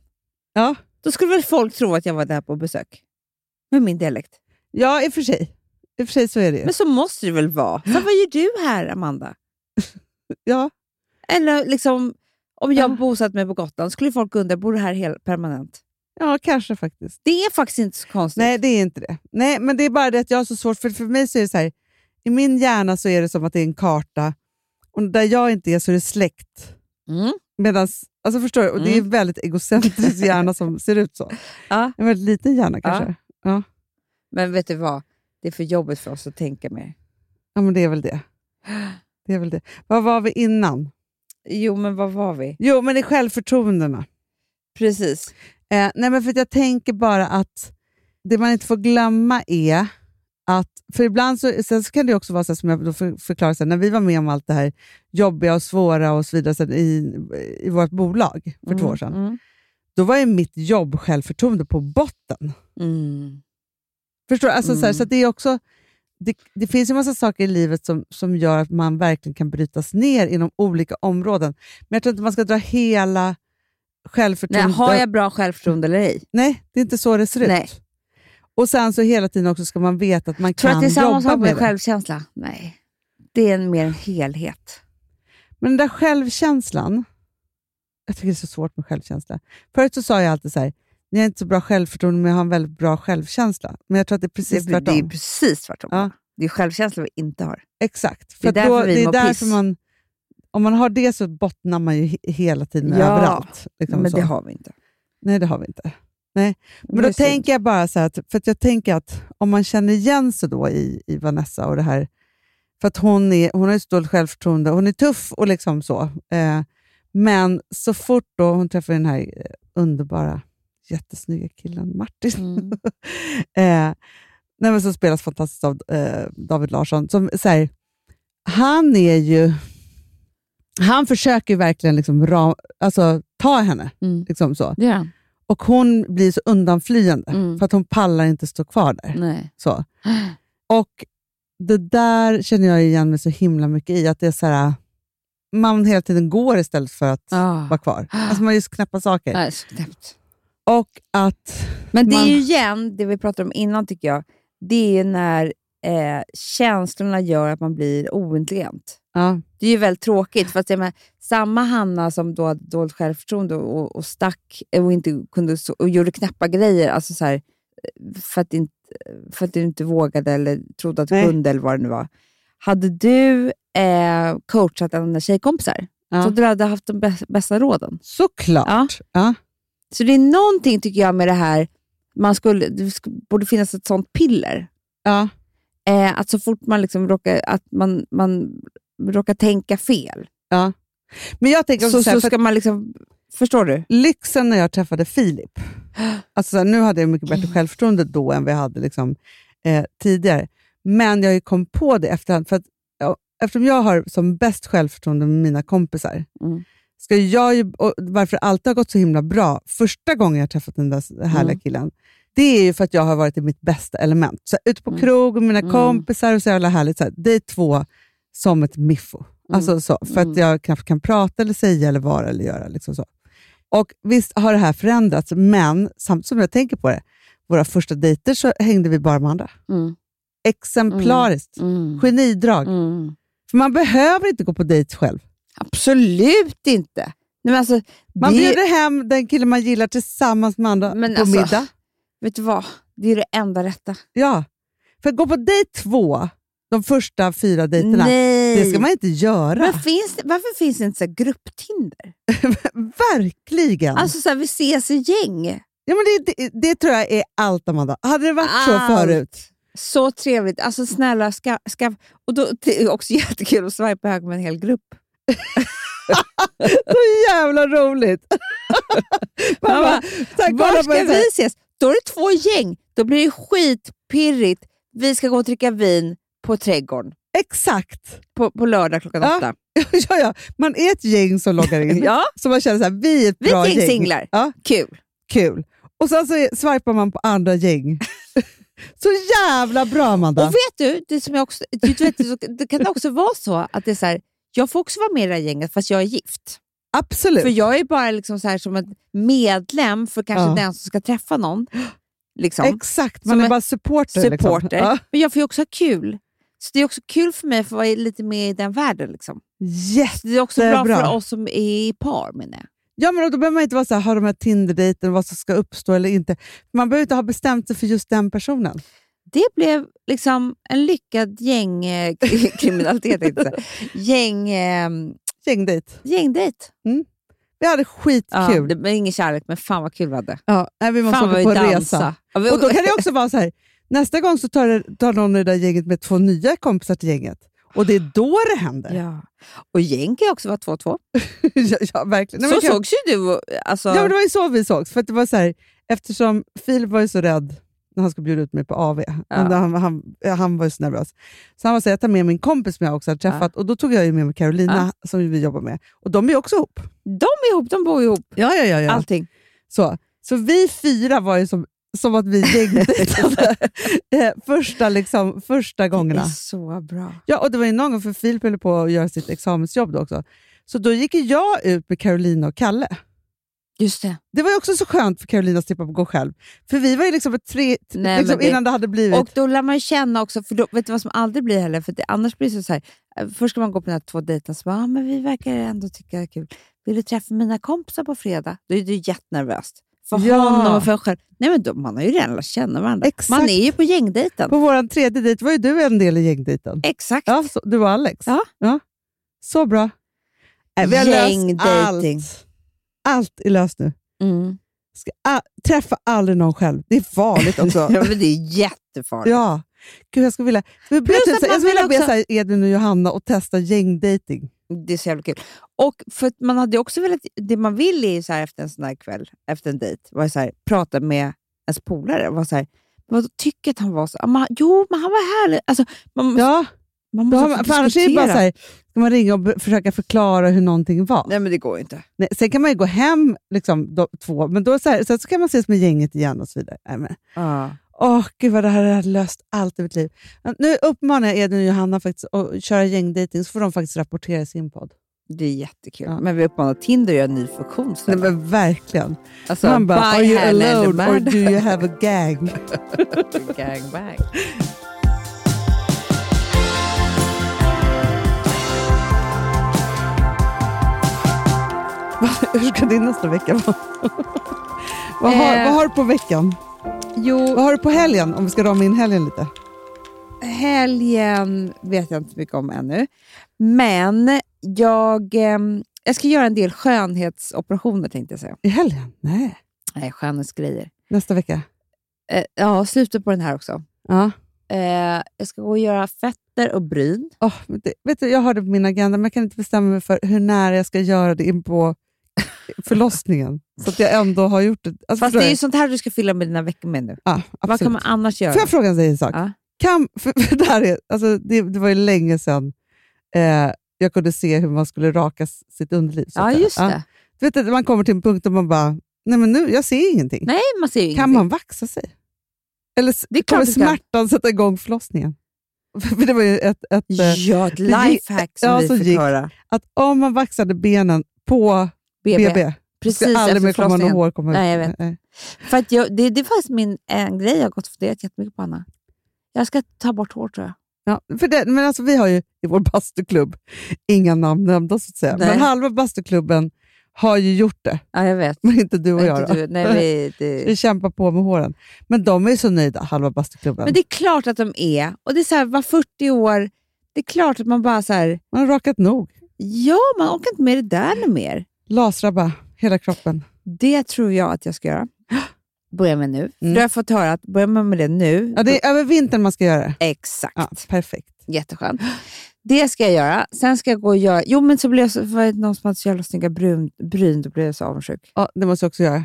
Speaker 2: Ja.
Speaker 3: då skulle väl folk tro att jag var där på besök? Med min dialekt.
Speaker 2: Ja, i och för sig. I och för sig så är det ju.
Speaker 3: Men så måste det väl vara? Så vad gör du här, Amanda?
Speaker 2: Ja.
Speaker 3: Eller liksom, om
Speaker 2: Ja.
Speaker 3: jag bosatt mig på Gotland, skulle folk undra, bor du här helt permanent?
Speaker 2: ja, kanske faktiskt.
Speaker 3: Det är faktiskt inte så konstigt.
Speaker 2: Nej, det är inte det. Nej, men det är bara det att jag har så svårt, för för mig så är det så här, i min hjärna så är det som att det är en karta och där jag inte är så är det släkt.
Speaker 3: Mm.
Speaker 2: Medans, alltså förstår du? Och det är en väldigt egocentrisk hjärna som ser ut så.
Speaker 3: Ja.
Speaker 2: En väldigt liten hjärna kanske. Ja.
Speaker 3: Men vet du vad? Det är för jobbigt för oss att tänka mer.
Speaker 2: men det är väl det. Det är väl det. Vad var vi innan?
Speaker 3: Jo, men vad var vi?
Speaker 2: Jo, men det är självförtroendena.
Speaker 3: Precis.
Speaker 2: Eh, nej, men för att jag tänker bara att det man inte får glömma är att, för ibland så, sen så kan det också vara så här, som jag då för- förklarar, så här, när vi var med om allt det här jobbiga och svåra och så vidare så här, i, i vårt bolag för två år sedan,
Speaker 3: Mm.
Speaker 2: då var ju mitt jobb självförtroende på botten.
Speaker 3: Mm.
Speaker 2: Förstår du? Alltså, så här,
Speaker 3: Mm.
Speaker 2: så att det, är också, det, det finns ju massa saker i livet som, som gör att man verkligen kan brytas ner inom olika områden. Men jag tror inte man ska dra hela
Speaker 3: Nej,
Speaker 2: självförtroendet.
Speaker 3: har jag bra självförtroende eller ej?
Speaker 2: Nej, det är inte så det ser ut.
Speaker 3: Nej.
Speaker 2: Och sen så hela tiden också ska man veta att man
Speaker 3: Tror du
Speaker 2: kan
Speaker 3: att det är samma
Speaker 2: jobba
Speaker 3: sak
Speaker 2: med
Speaker 3: med
Speaker 2: det.
Speaker 3: självkänsla? Nej. Det är en, mer en helhet.
Speaker 2: Men den där självkänslan, jag tycker det är så svårt med självkänsla. Förut så sa jag alltid så här, ni har inte så bra självförtroende men jag har en väldigt bra självkänsla. Men jag tror att det är precis
Speaker 3: det, det är
Speaker 2: tvärtom.
Speaker 3: precis tvärtom.
Speaker 2: Ja.
Speaker 3: Det är självkänsla vi inte har.
Speaker 2: Exakt.
Speaker 3: Det är
Speaker 2: att
Speaker 3: därför vi
Speaker 2: det är
Speaker 3: mår
Speaker 2: därför
Speaker 3: piss.
Speaker 2: man om man har det så bottnar man ju he- hela tiden
Speaker 3: Ja,
Speaker 2: överallt. liksom
Speaker 3: men
Speaker 2: så.
Speaker 3: det har vi inte.
Speaker 2: Nej, det har vi inte. Nej. Men
Speaker 3: Det
Speaker 2: då
Speaker 3: är synd.
Speaker 2: tänker jag bara så här, att, för att jag tänker att om man känner igen sig då i, i Vanessa och det här, för att hon, är, hon har ju så dåligt självförtroende, hon är tuff och liksom så. Eh, men så fort då hon träffar den här eh, underbara, jättesnygga killen Martin, <laughs> eh, nej, men som spelas fantastiskt av eh, David Larsson, som så här, han är ju, han försöker ju verkligen liksom ra, alltså, ta henne.
Speaker 6: Mm.
Speaker 2: Liksom så.
Speaker 6: Ja,
Speaker 2: Och hon blir så undanflyende
Speaker 6: Mm.
Speaker 2: för att hon pallar inte stå kvar där.
Speaker 3: Mm.
Speaker 6: nej.
Speaker 2: Så. Och det där känner jag igen mig så himla mycket i. Att det är så här, man hela tiden går istället för att
Speaker 6: Ah.
Speaker 2: vara kvar. Alltså man just knäppa saker.
Speaker 6: Nej.
Speaker 3: Knäppt.
Speaker 2: Och att...
Speaker 3: Men det
Speaker 2: Man-
Speaker 3: är ju igen det vi pratade om innan tycker jag. Det är ju när eh, känslorna gör att man blir ointelligent.
Speaker 2: Ja,
Speaker 3: Det är ju väldigt tråkigt. För att, jag menar, samma Hanna som då hade dåligt självförtroende och, och stack eh, och, inte kunde, så- och gjorde knäppa grejer alltså så här, eh, för, att inte, för att du inte vågade eller trodde att du
Speaker 2: Nej.
Speaker 3: kunde eller vad det nu var. Hade du eh, coachat dina tjejkompisar
Speaker 2: Ja.
Speaker 3: så att du hade haft de bäs- bästa råden.
Speaker 2: såklart. Ja.
Speaker 3: Så det är någonting tycker jag med det här, man skulle, det sk- borde finnas ett sånt piller.
Speaker 2: Ja.
Speaker 3: Eh, att så fort man, liksom råkar, att man, man råkar tänka fel
Speaker 2: Men jag tänker också
Speaker 3: så,
Speaker 2: så här,
Speaker 3: så
Speaker 2: för
Speaker 3: ska man liksom... Förstår du?
Speaker 2: lyxen när jag träffade Filip. Alltså så här, nu hade jag mycket bättre självförtroende då än vi hade liksom, eh, tidigare. Men jag har ju kom på det efterhand. För att, ja, eftersom jag har som bäst självförtroende med mina kompisar,
Speaker 3: Mm.
Speaker 2: ska jag ju, och varför det alltid har gått så himla bra första gången jag har träffat den där härliga killen, det är ju för att jag har varit i mitt bästa element. Så här, ute på krog med mina kompisar och så jävla härligt. Så här, det är två som ett miffo. Alltså så, för att jag knappt kan prata, eller säga, eller vara eller göra. Liksom så. Och visst har det här förändrats, men samtidigt som jag tänker på det, våra första dejter så hängde vi bara med andra.
Speaker 6: Mm.
Speaker 2: Exemplariskt.
Speaker 3: Mm.
Speaker 2: Genidrag. För man behöver inte gå på dejt själv.
Speaker 3: Absolut inte! Nej, men alltså,
Speaker 2: Man
Speaker 3: det,
Speaker 2: bjuder hem den killen man gillar tillsammans med andra
Speaker 3: Men
Speaker 2: på
Speaker 3: alltså-
Speaker 2: middag.
Speaker 3: Vet du vad? Det är det enda rätta.
Speaker 2: Ja. För att gå på dejt två, de första fyra dejterna,
Speaker 3: Nej!
Speaker 2: det ska man inte göra.
Speaker 3: men finns det, varför finns det inte så här grupptinder?
Speaker 2: Verkligen!
Speaker 3: Alltså så här, vi ses i gäng.
Speaker 2: ja, men det, det, det tror jag är allt, Amanda. Hade det varit
Speaker 3: Allt.
Speaker 2: så förut?
Speaker 3: Så trevligt. Alltså snälla, ska, ska, och då, det är också <laughs> jättekul att swipa höger med en hel grupp.
Speaker 2: Så jävla
Speaker 3: <laughs>
Speaker 2: roligt! man
Speaker 3: Man
Speaker 2: bara,
Speaker 3: bara,
Speaker 2: tack,
Speaker 3: Var
Speaker 2: kolla på
Speaker 3: ska
Speaker 2: en så här-
Speaker 3: vi ses? Då är det två gäng. Då blir det skitpirrigt. Vi ska gå och dricka vin på Trädgården
Speaker 2: Exakt! <laughs>
Speaker 3: på, på lördag klockan
Speaker 2: Ja.
Speaker 3: åtta.
Speaker 2: ja, ja. Man är ett gäng som loggar in.
Speaker 3: Ja,
Speaker 2: Så man känner så här, vi är ett
Speaker 3: vi är
Speaker 2: bra
Speaker 3: ett gäng
Speaker 2: gäng.
Speaker 3: singlar.
Speaker 2: Ja.
Speaker 3: Kul.
Speaker 2: Kul. Och sen så är- swipar man på andra
Speaker 3: <laughs>
Speaker 2: gäng. så jävla bra, Amanda.
Speaker 3: Och vet du, det, som jag också, du vet, det så- det kan också vara så att det är så här, jag får också vara med i det här gänget fast jag är gift.
Speaker 2: Absolut.
Speaker 3: För jag är bara liksom så här som en medlem för kanske
Speaker 2: Ja.
Speaker 3: den som ska träffa någon. Liksom.
Speaker 2: Exakt, man
Speaker 3: Som
Speaker 2: är
Speaker 3: en
Speaker 2: bara supporter.
Speaker 3: Supporter.
Speaker 2: Liksom. Ja.
Speaker 3: Men jag får ju också ha kul. Så det är också kul för mig att få vara lite med i den världen. Liksom.
Speaker 2: Yes.
Speaker 3: Så det är också
Speaker 2: Det är
Speaker 3: bra,
Speaker 2: bra.
Speaker 3: för oss som är i par menar jag.
Speaker 2: Ja, men då behöver man inte vara så här, har de här Tinder-dejten, vad som ska uppstå eller inte. Man behöver inte ha bestämt sig för just den personen.
Speaker 3: Det blev liksom en lyckad eh, <laughs> gängkriminalitet, inte gäng, eh,
Speaker 2: Gängdejt.
Speaker 3: gängdejt.
Speaker 2: Vi hade
Speaker 3: Ja,
Speaker 2: skitkul.
Speaker 3: det var ingen kärlek, men fan vad kul vi hade.
Speaker 2: Ja, nej, vi måste
Speaker 3: fan
Speaker 2: åka
Speaker 3: vad
Speaker 2: på
Speaker 3: vi
Speaker 2: en
Speaker 3: dansade.
Speaker 2: resa.
Speaker 3: Ja, vi-
Speaker 2: Och då kan det också vara så här, nästa gång så tar, det- tar någon i det där gänget med två nya kompisar till gänget. Och det är då det händer.
Speaker 3: Ja. Och gäng kan ju också vara två och två.
Speaker 2: <laughs> ja, ja, verkligen. Nej,
Speaker 3: så
Speaker 2: men kan-
Speaker 3: sågs ju du. och- Alltså,
Speaker 2: Ja, men det var ju så vi sågs. För att det var så här, eftersom Filip var ju så rädd när han skulle bjuda ut mig på AV. Men Han, han, han var ju så nervös. Så han var så här, jag tar med min kompis som jag också har träffat. Och då tog jag ju med mig Carolina som vi jobbar med. Och de är ju också ihop.
Speaker 3: De är ihop, de bor ihop.
Speaker 2: Ja, ja, ja. ja.
Speaker 3: Allting.
Speaker 2: Så. så vi fyra var ju som, som att vi <laughs> gängdejtade eh, första, liksom, första
Speaker 3: Det
Speaker 2: gångerna.
Speaker 3: är så bra.
Speaker 2: Ja, och det var ju någon gång, för Filip höll på att göra sitt examensjobb då också. Så då gick ju jag ut med Carolina och Kalle.
Speaker 3: Just det.
Speaker 2: Det var ju också så skönt för Carolina att slippa gå själv. För vi var ju liksom ett tre, t-
Speaker 3: Nej,
Speaker 2: liksom
Speaker 3: men det-
Speaker 2: innan det hade blivit...
Speaker 3: Och då lär man ju känna också, för då, vet du vad som aldrig blir heller? För det, annars blir det så här, eh, först ska man gå på de här två dejterna, så bara, ah, men vi verkar ändå tycka det är kul. Vill du träffa mina kompisar på fredag? Då är du jättenervöst. För
Speaker 2: Ja.
Speaker 3: honom och för en själv. Nej, men då, man har ju redan lärt känna varandra.
Speaker 2: Exakt.
Speaker 3: Man är ju på gängdejten.
Speaker 2: På vår tredje dejt var ju du en del i gängdejten.
Speaker 3: Exakt.
Speaker 2: Ja, så, du och Alex.
Speaker 3: Ja.
Speaker 2: Så bra. Nej, vi har löst
Speaker 3: Gängdejting.
Speaker 2: allt. Allt är löst nu.
Speaker 3: Mm.
Speaker 2: Ska, a, träffa aldrig någon själv. Det är
Speaker 3: <laughs>
Speaker 2: farligt också.
Speaker 3: Ja, men det är jättefarligt.
Speaker 2: ja. Gud, jag skulle vilja, jag
Speaker 3: Plus
Speaker 2: skulle
Speaker 3: att
Speaker 2: jag
Speaker 3: man
Speaker 2: skulle vilja
Speaker 3: vill
Speaker 2: be
Speaker 3: också-
Speaker 2: så här, Edvin och Johanna och testa gängdejting.
Speaker 3: Det är så jävla kul. Och för att man hade också velat, det man vill är ju så här efter en sån här kväll, efter en dejt, var så här, prata med ens polare. Var så här, man tycker att han var så ja, men, han- Jo, men han var härlig. Alltså, man måste,
Speaker 2: Ja,
Speaker 3: man
Speaker 2: då
Speaker 3: måste
Speaker 2: har
Speaker 3: få
Speaker 2: man, för annars är det bara så
Speaker 3: diskutera.
Speaker 2: här, ska man ringa och be- försöka förklara hur någonting var.
Speaker 3: Nej, men det går ju inte.
Speaker 2: Nej, sen kan man ju gå hem liksom, då, två, men då så här, sen så kan man ses med gänget igen och så vidare. Nej, men,
Speaker 3: Ja.
Speaker 2: Åh, gud vad det här har löst allt i mitt liv. Men Nu uppmanar jag Edvin och Johanna faktiskt att köra gängdejting, så får de faktiskt rapportera i sin podd.
Speaker 3: Det är jättekul.
Speaker 2: Ja.
Speaker 3: Men vi uppmanar Tinder att göra en ny funktion.
Speaker 2: Nej,
Speaker 3: snälla.
Speaker 2: men verkligen.
Speaker 3: alltså,
Speaker 2: Man bara,
Speaker 3: buy
Speaker 2: are you
Speaker 3: hand and
Speaker 2: alone or
Speaker 3: man."
Speaker 2: do you have a <laughs> gang?
Speaker 6: Gangbang.
Speaker 2: Hur ska din nästa vecka vara? vad, har,
Speaker 3: Eh.
Speaker 2: vad har du på veckan?
Speaker 3: Jo,
Speaker 2: Vad har du på helgen? Om vi ska rama in helgen lite.
Speaker 3: Eh, helgen vet jag inte så mycket om ännu. Men jag, ehm, jag ska göra en del skönhetsoperationer tänkte jag säga.
Speaker 2: I helgen? Nej.
Speaker 3: Nej, skönhetsgrejer.
Speaker 2: Nästa vecka?
Speaker 3: Eh, ja, slutet på den här också.
Speaker 2: Ja.
Speaker 3: Eh, jag ska gå och göra fötter och bryn.
Speaker 2: Åh, men det, vet du, jag har det på min agenda, men jag kan inte bestämma mig för hur nära jag ska göra det in på förlossningen. Så att jag ändå har gjort det. Alltså,
Speaker 3: Fast
Speaker 2: förstår
Speaker 3: det är
Speaker 2: jag?
Speaker 3: ju sånt här du ska fylla med dina veckor med nu.
Speaker 2: ja,
Speaker 3: Vad
Speaker 2: absolut.
Speaker 3: kan man annars göra?
Speaker 2: Får jag fråga dig en sak?
Speaker 3: Ja.
Speaker 2: Kan, för, för det, här är, alltså, det, det var ju länge sedan eh, jag kunde se hur man skulle raka s- sitt underliv. så
Speaker 3: ja,
Speaker 2: att säga.
Speaker 3: just det.
Speaker 2: Du vet att man kommer till en punkt där man bara, nej men nu, jag ser ingenting.
Speaker 3: Nej, man ser ju ingenting.
Speaker 2: Kan man vaxa sig? Eller s-
Speaker 3: Det är klart
Speaker 2: kommer
Speaker 3: du kan.
Speaker 2: smärtan sätta igång förlossningen? <laughs> För det var ju ett, ett, eh,
Speaker 3: Ja, ett
Speaker 2: gick-
Speaker 3: lifehack som
Speaker 2: ja,
Speaker 3: vi
Speaker 2: så
Speaker 3: fick
Speaker 2: gick-
Speaker 3: höra.
Speaker 2: att om man vaxade benen på
Speaker 3: BB.
Speaker 2: BB, ska
Speaker 3: Precis
Speaker 2: aldrig mer
Speaker 3: efter
Speaker 2: komma något
Speaker 3: förlossningen.
Speaker 2: hår komma ut.
Speaker 3: Nej, jag vet. För att jag, det, det är faktiskt min, en grej jag har gått och funderat jättemycket på, Anna. Jag ska ta bort hår tror jag.
Speaker 2: Ja, för det, men alltså, vi har ju i vår bastuklubb, inga namn nämnda så att säga,
Speaker 3: Nej.
Speaker 2: men halva bastuklubben har ju gjort det, <laughs>
Speaker 3: Ja, jag vet.
Speaker 2: men inte du och
Speaker 3: Inte
Speaker 2: jag. då.
Speaker 3: du, nej, vi, det,
Speaker 2: <laughs> Vi kämpar på med håren. Men de är ju så nöjda, halva bastuklubben.
Speaker 3: Men det är klart att de är. Och det är så här, var 40 år, det är klart att man bara så här,
Speaker 2: Man har rakat nog.
Speaker 3: ja, man orkar inte med det där nu mer.
Speaker 2: Lasrabba hela kroppen.
Speaker 3: Det tror jag att jag ska göra. <gasps> Börja med nu.
Speaker 2: Mm.
Speaker 3: Du har jag fått höra att börjar man med det nu,
Speaker 2: Ja, det är över vintern man ska göra det.
Speaker 3: då, exakt.
Speaker 2: Ja, perfekt.
Speaker 3: Jätteskönt. Det ska jag göra. Sen ska jag gå och göra... Jo, men så blev jag så... Var det någon som hade så jävla snygga brun, bryn, då blev jag så avundsjuk.
Speaker 2: Ja, det måste jag också göra.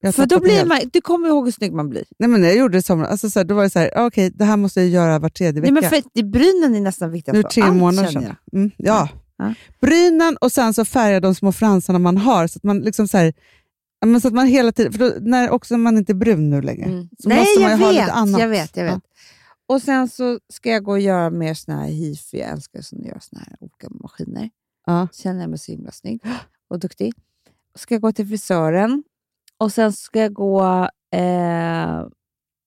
Speaker 2: Jag har
Speaker 3: För då
Speaker 2: tappat det
Speaker 3: blir
Speaker 2: helt.
Speaker 3: man... Du kommer ihåg hur snygg man blir.
Speaker 2: Nej, men när jag gjorde det i somras, alltså, så här, då var det så här, okej, det här måste jag göra var tredje
Speaker 3: Nej,
Speaker 2: vecka.
Speaker 3: men för att det- brynen är nästan viktigast.
Speaker 2: nu
Speaker 3: av
Speaker 2: tre
Speaker 3: allt,
Speaker 2: månader
Speaker 3: känner
Speaker 2: sedan.
Speaker 3: jag.
Speaker 2: Mm, ja.
Speaker 3: Ja.
Speaker 2: Brynen och sen så färga de små fransarna man har, så att man liksom så här, ja, men så att man hela tiden, för då, när också man inte är brun nu längre.
Speaker 3: Mm.
Speaker 2: Så
Speaker 3: Nej,
Speaker 2: måste man
Speaker 3: jag,
Speaker 2: ju ha
Speaker 3: vet,
Speaker 2: lite annat.
Speaker 3: jag vet. Jag vet.
Speaker 2: Ja.
Speaker 3: Och sen så ska jag gå och göra mer såna här hifi. Jag älskar att göra såna här olika maskiner.
Speaker 2: Ja.
Speaker 3: Känner jag mig så himla snygg och duktig. Ska jag gå till frisören och sen ska jag gå... Eh,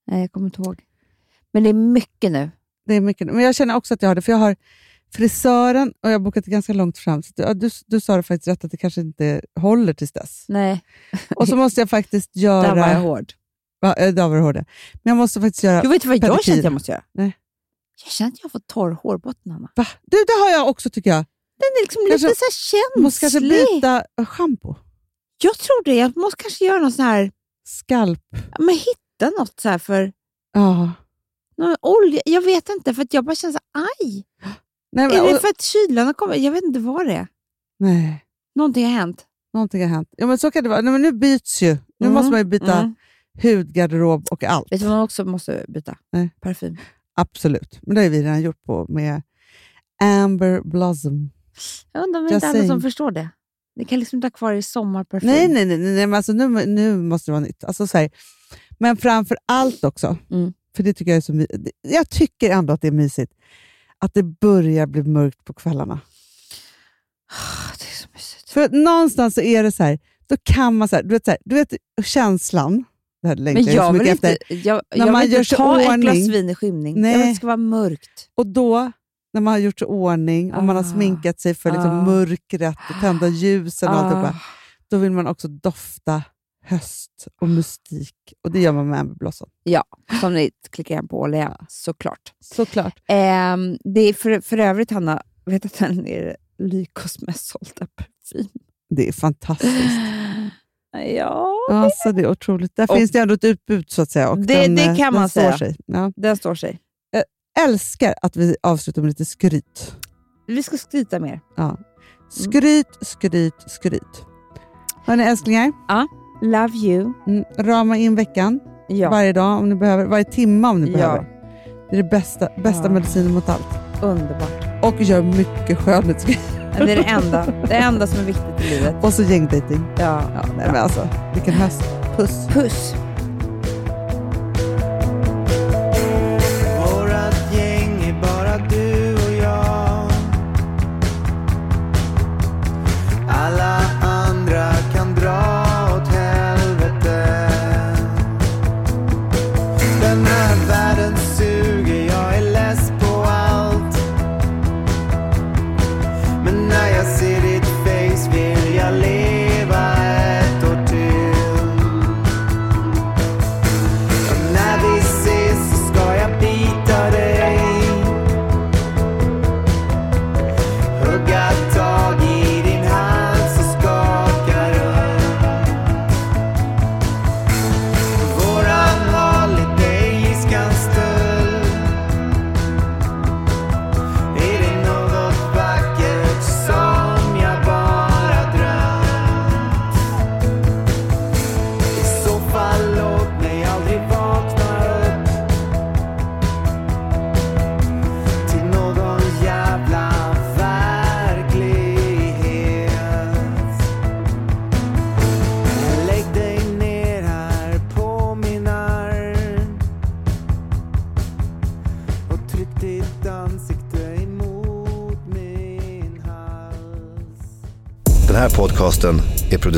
Speaker 3: nej, jag kommer inte ihåg. Men det är mycket nu.
Speaker 2: Det är mycket. Men jag känner också att jag har det, för jag har frisören och jag har bokat det ganska långt fram. Så att, ja, du, du sa det faktiskt rätt att det kanske inte håller tills
Speaker 3: <laughs>
Speaker 2: dess.
Speaker 3: Nej,
Speaker 2: Och så måste jag faktiskt
Speaker 3: där var jag
Speaker 2: göra...
Speaker 3: hård.
Speaker 2: Ja, eh, Där var du hård. ja. Men jag måste faktiskt göra...
Speaker 3: Du vet du vad jag
Speaker 2: Pedikyr.
Speaker 3: kände att jag måste göra?
Speaker 2: Nej.
Speaker 3: Jag kände att jag får torr hårbotten, Anna.
Speaker 2: Va? Du, det har jag också tycker jag.
Speaker 3: Den är liksom
Speaker 2: Kanske-
Speaker 3: lite så här
Speaker 2: Jag
Speaker 3: känslig.
Speaker 2: måste kanske alltså byta eh, schampo.
Speaker 3: Jag tror det. Jag måste kanske göra någon sån här...
Speaker 2: Skalp.
Speaker 3: Ja, Men hitta något så här för
Speaker 2: Ja.
Speaker 3: någon olja. Jag vet inte, för att jag bara känner så här, aj.
Speaker 2: Nej, men,
Speaker 3: Är det
Speaker 2: och,
Speaker 3: för att kylan har kommit? Jag vet inte vad det är.
Speaker 2: nej,
Speaker 3: Någonting har hänt.
Speaker 2: någonting har hänt. Ja, men så kan det vara. Nej, men nu byts ju. Nu
Speaker 3: Mm,
Speaker 2: måste man ju byta
Speaker 3: Mm.
Speaker 2: hud, garderob och allt.
Speaker 3: Vet du vad man också måste byta?
Speaker 2: Nej.
Speaker 3: Parfym.
Speaker 2: Absolut. Men det har ju vi redan gjort på med Amber Blossom.
Speaker 3: Jag undrar om det
Speaker 2: Jag
Speaker 3: inte är alla
Speaker 2: säger-
Speaker 3: som förstår det. Det kan liksom inte ha kvar i sommarparfym.
Speaker 2: Nej, nej, nej. nej, nej men alltså, nu, nu måste det vara nytt. Alltså, så här. Men framför allt också,
Speaker 3: Mm.
Speaker 2: för det tycker jag är så my- det- Jag tycker ändå att det är mysigt att det börjar bli mörkt på kvällarna.
Speaker 3: Ah, Det är så mysigt.
Speaker 2: För någonstans så är det så här, då kan man så här, du vet, så här, du vet känslan, det här längtar
Speaker 3: Men
Speaker 2: jag så
Speaker 3: jag vill
Speaker 2: mycket
Speaker 3: inte,
Speaker 2: efter.
Speaker 3: jag, jag
Speaker 2: man
Speaker 3: vill
Speaker 2: gör
Speaker 3: inte
Speaker 2: sig
Speaker 3: ta ett glas
Speaker 2: ordning.
Speaker 3: vin i skymning.
Speaker 2: Nej.
Speaker 3: Jag vill att det ska vara mörkt.
Speaker 2: Och då, när man har gjort sig i ordning och man har
Speaker 3: Ah.
Speaker 2: sminkat sig för liksom
Speaker 3: Ah.
Speaker 2: mörkret och tända ljusen och alltihopa,
Speaker 3: Ah,
Speaker 2: då vill man också dofta höst och mystik. Och det gör man med Amber Blossom.
Speaker 3: som ni klickar igen på olja, såklart.
Speaker 2: Såklart.
Speaker 3: Ehm, det är för, för övrigt, Hanna, vet att den är Lykos mest sålda parfym.
Speaker 2: Det är fantastiskt.
Speaker 3: Ja,
Speaker 2: Alltså, det är otroligt. Där
Speaker 3: Och-
Speaker 2: finns det ändå ett utbud så att säga. Och
Speaker 3: Det-
Speaker 2: den,
Speaker 3: det
Speaker 2: eh, den
Speaker 3: kan man
Speaker 2: står
Speaker 3: säga.
Speaker 2: Sig. Ja.
Speaker 3: den står sig.
Speaker 2: Älskar att vi avslutar med lite skryt.
Speaker 3: Vi ska skryta mer.
Speaker 2: Ja.
Speaker 3: Mm.
Speaker 2: Skryt, skryt, skryt. Hörni älsklingar,
Speaker 3: Love you.
Speaker 2: mm, rama in veckan
Speaker 3: Ja,
Speaker 2: varje dag om ni behöver. Varje timme om ni
Speaker 3: Ja.
Speaker 2: behöver. Det är det bästa, bästa
Speaker 3: Ja.
Speaker 2: medicinen mot allt.
Speaker 3: underbart.
Speaker 2: Och gör mycket skönhetsgrejer. <laughs>
Speaker 3: Det är det enda, det enda som är viktigt i livet.
Speaker 2: Och så gängdejting.
Speaker 3: Ja.
Speaker 2: Ja, nej, men alltså, vilken höst. Puss!
Speaker 3: Puss!
Speaker 8: Vårat gäng är bara du och jag Alla andra kan dra åt helvete Den här världen suger, jag är less på allt Men när jag ser ditt face vill jag leva ett år till och när vi ses så ska jag bita dig Hugga tag i din hand så skakar den Våran holiday i Skanstull Är det något vackert som jag bara drömt i så fall låt mig aldrig vakna upp till någon jävla verklighet. Lägg dig ner här på min arm och tryck ditt ansikte emot min hals.
Speaker 9: Den här podcasten är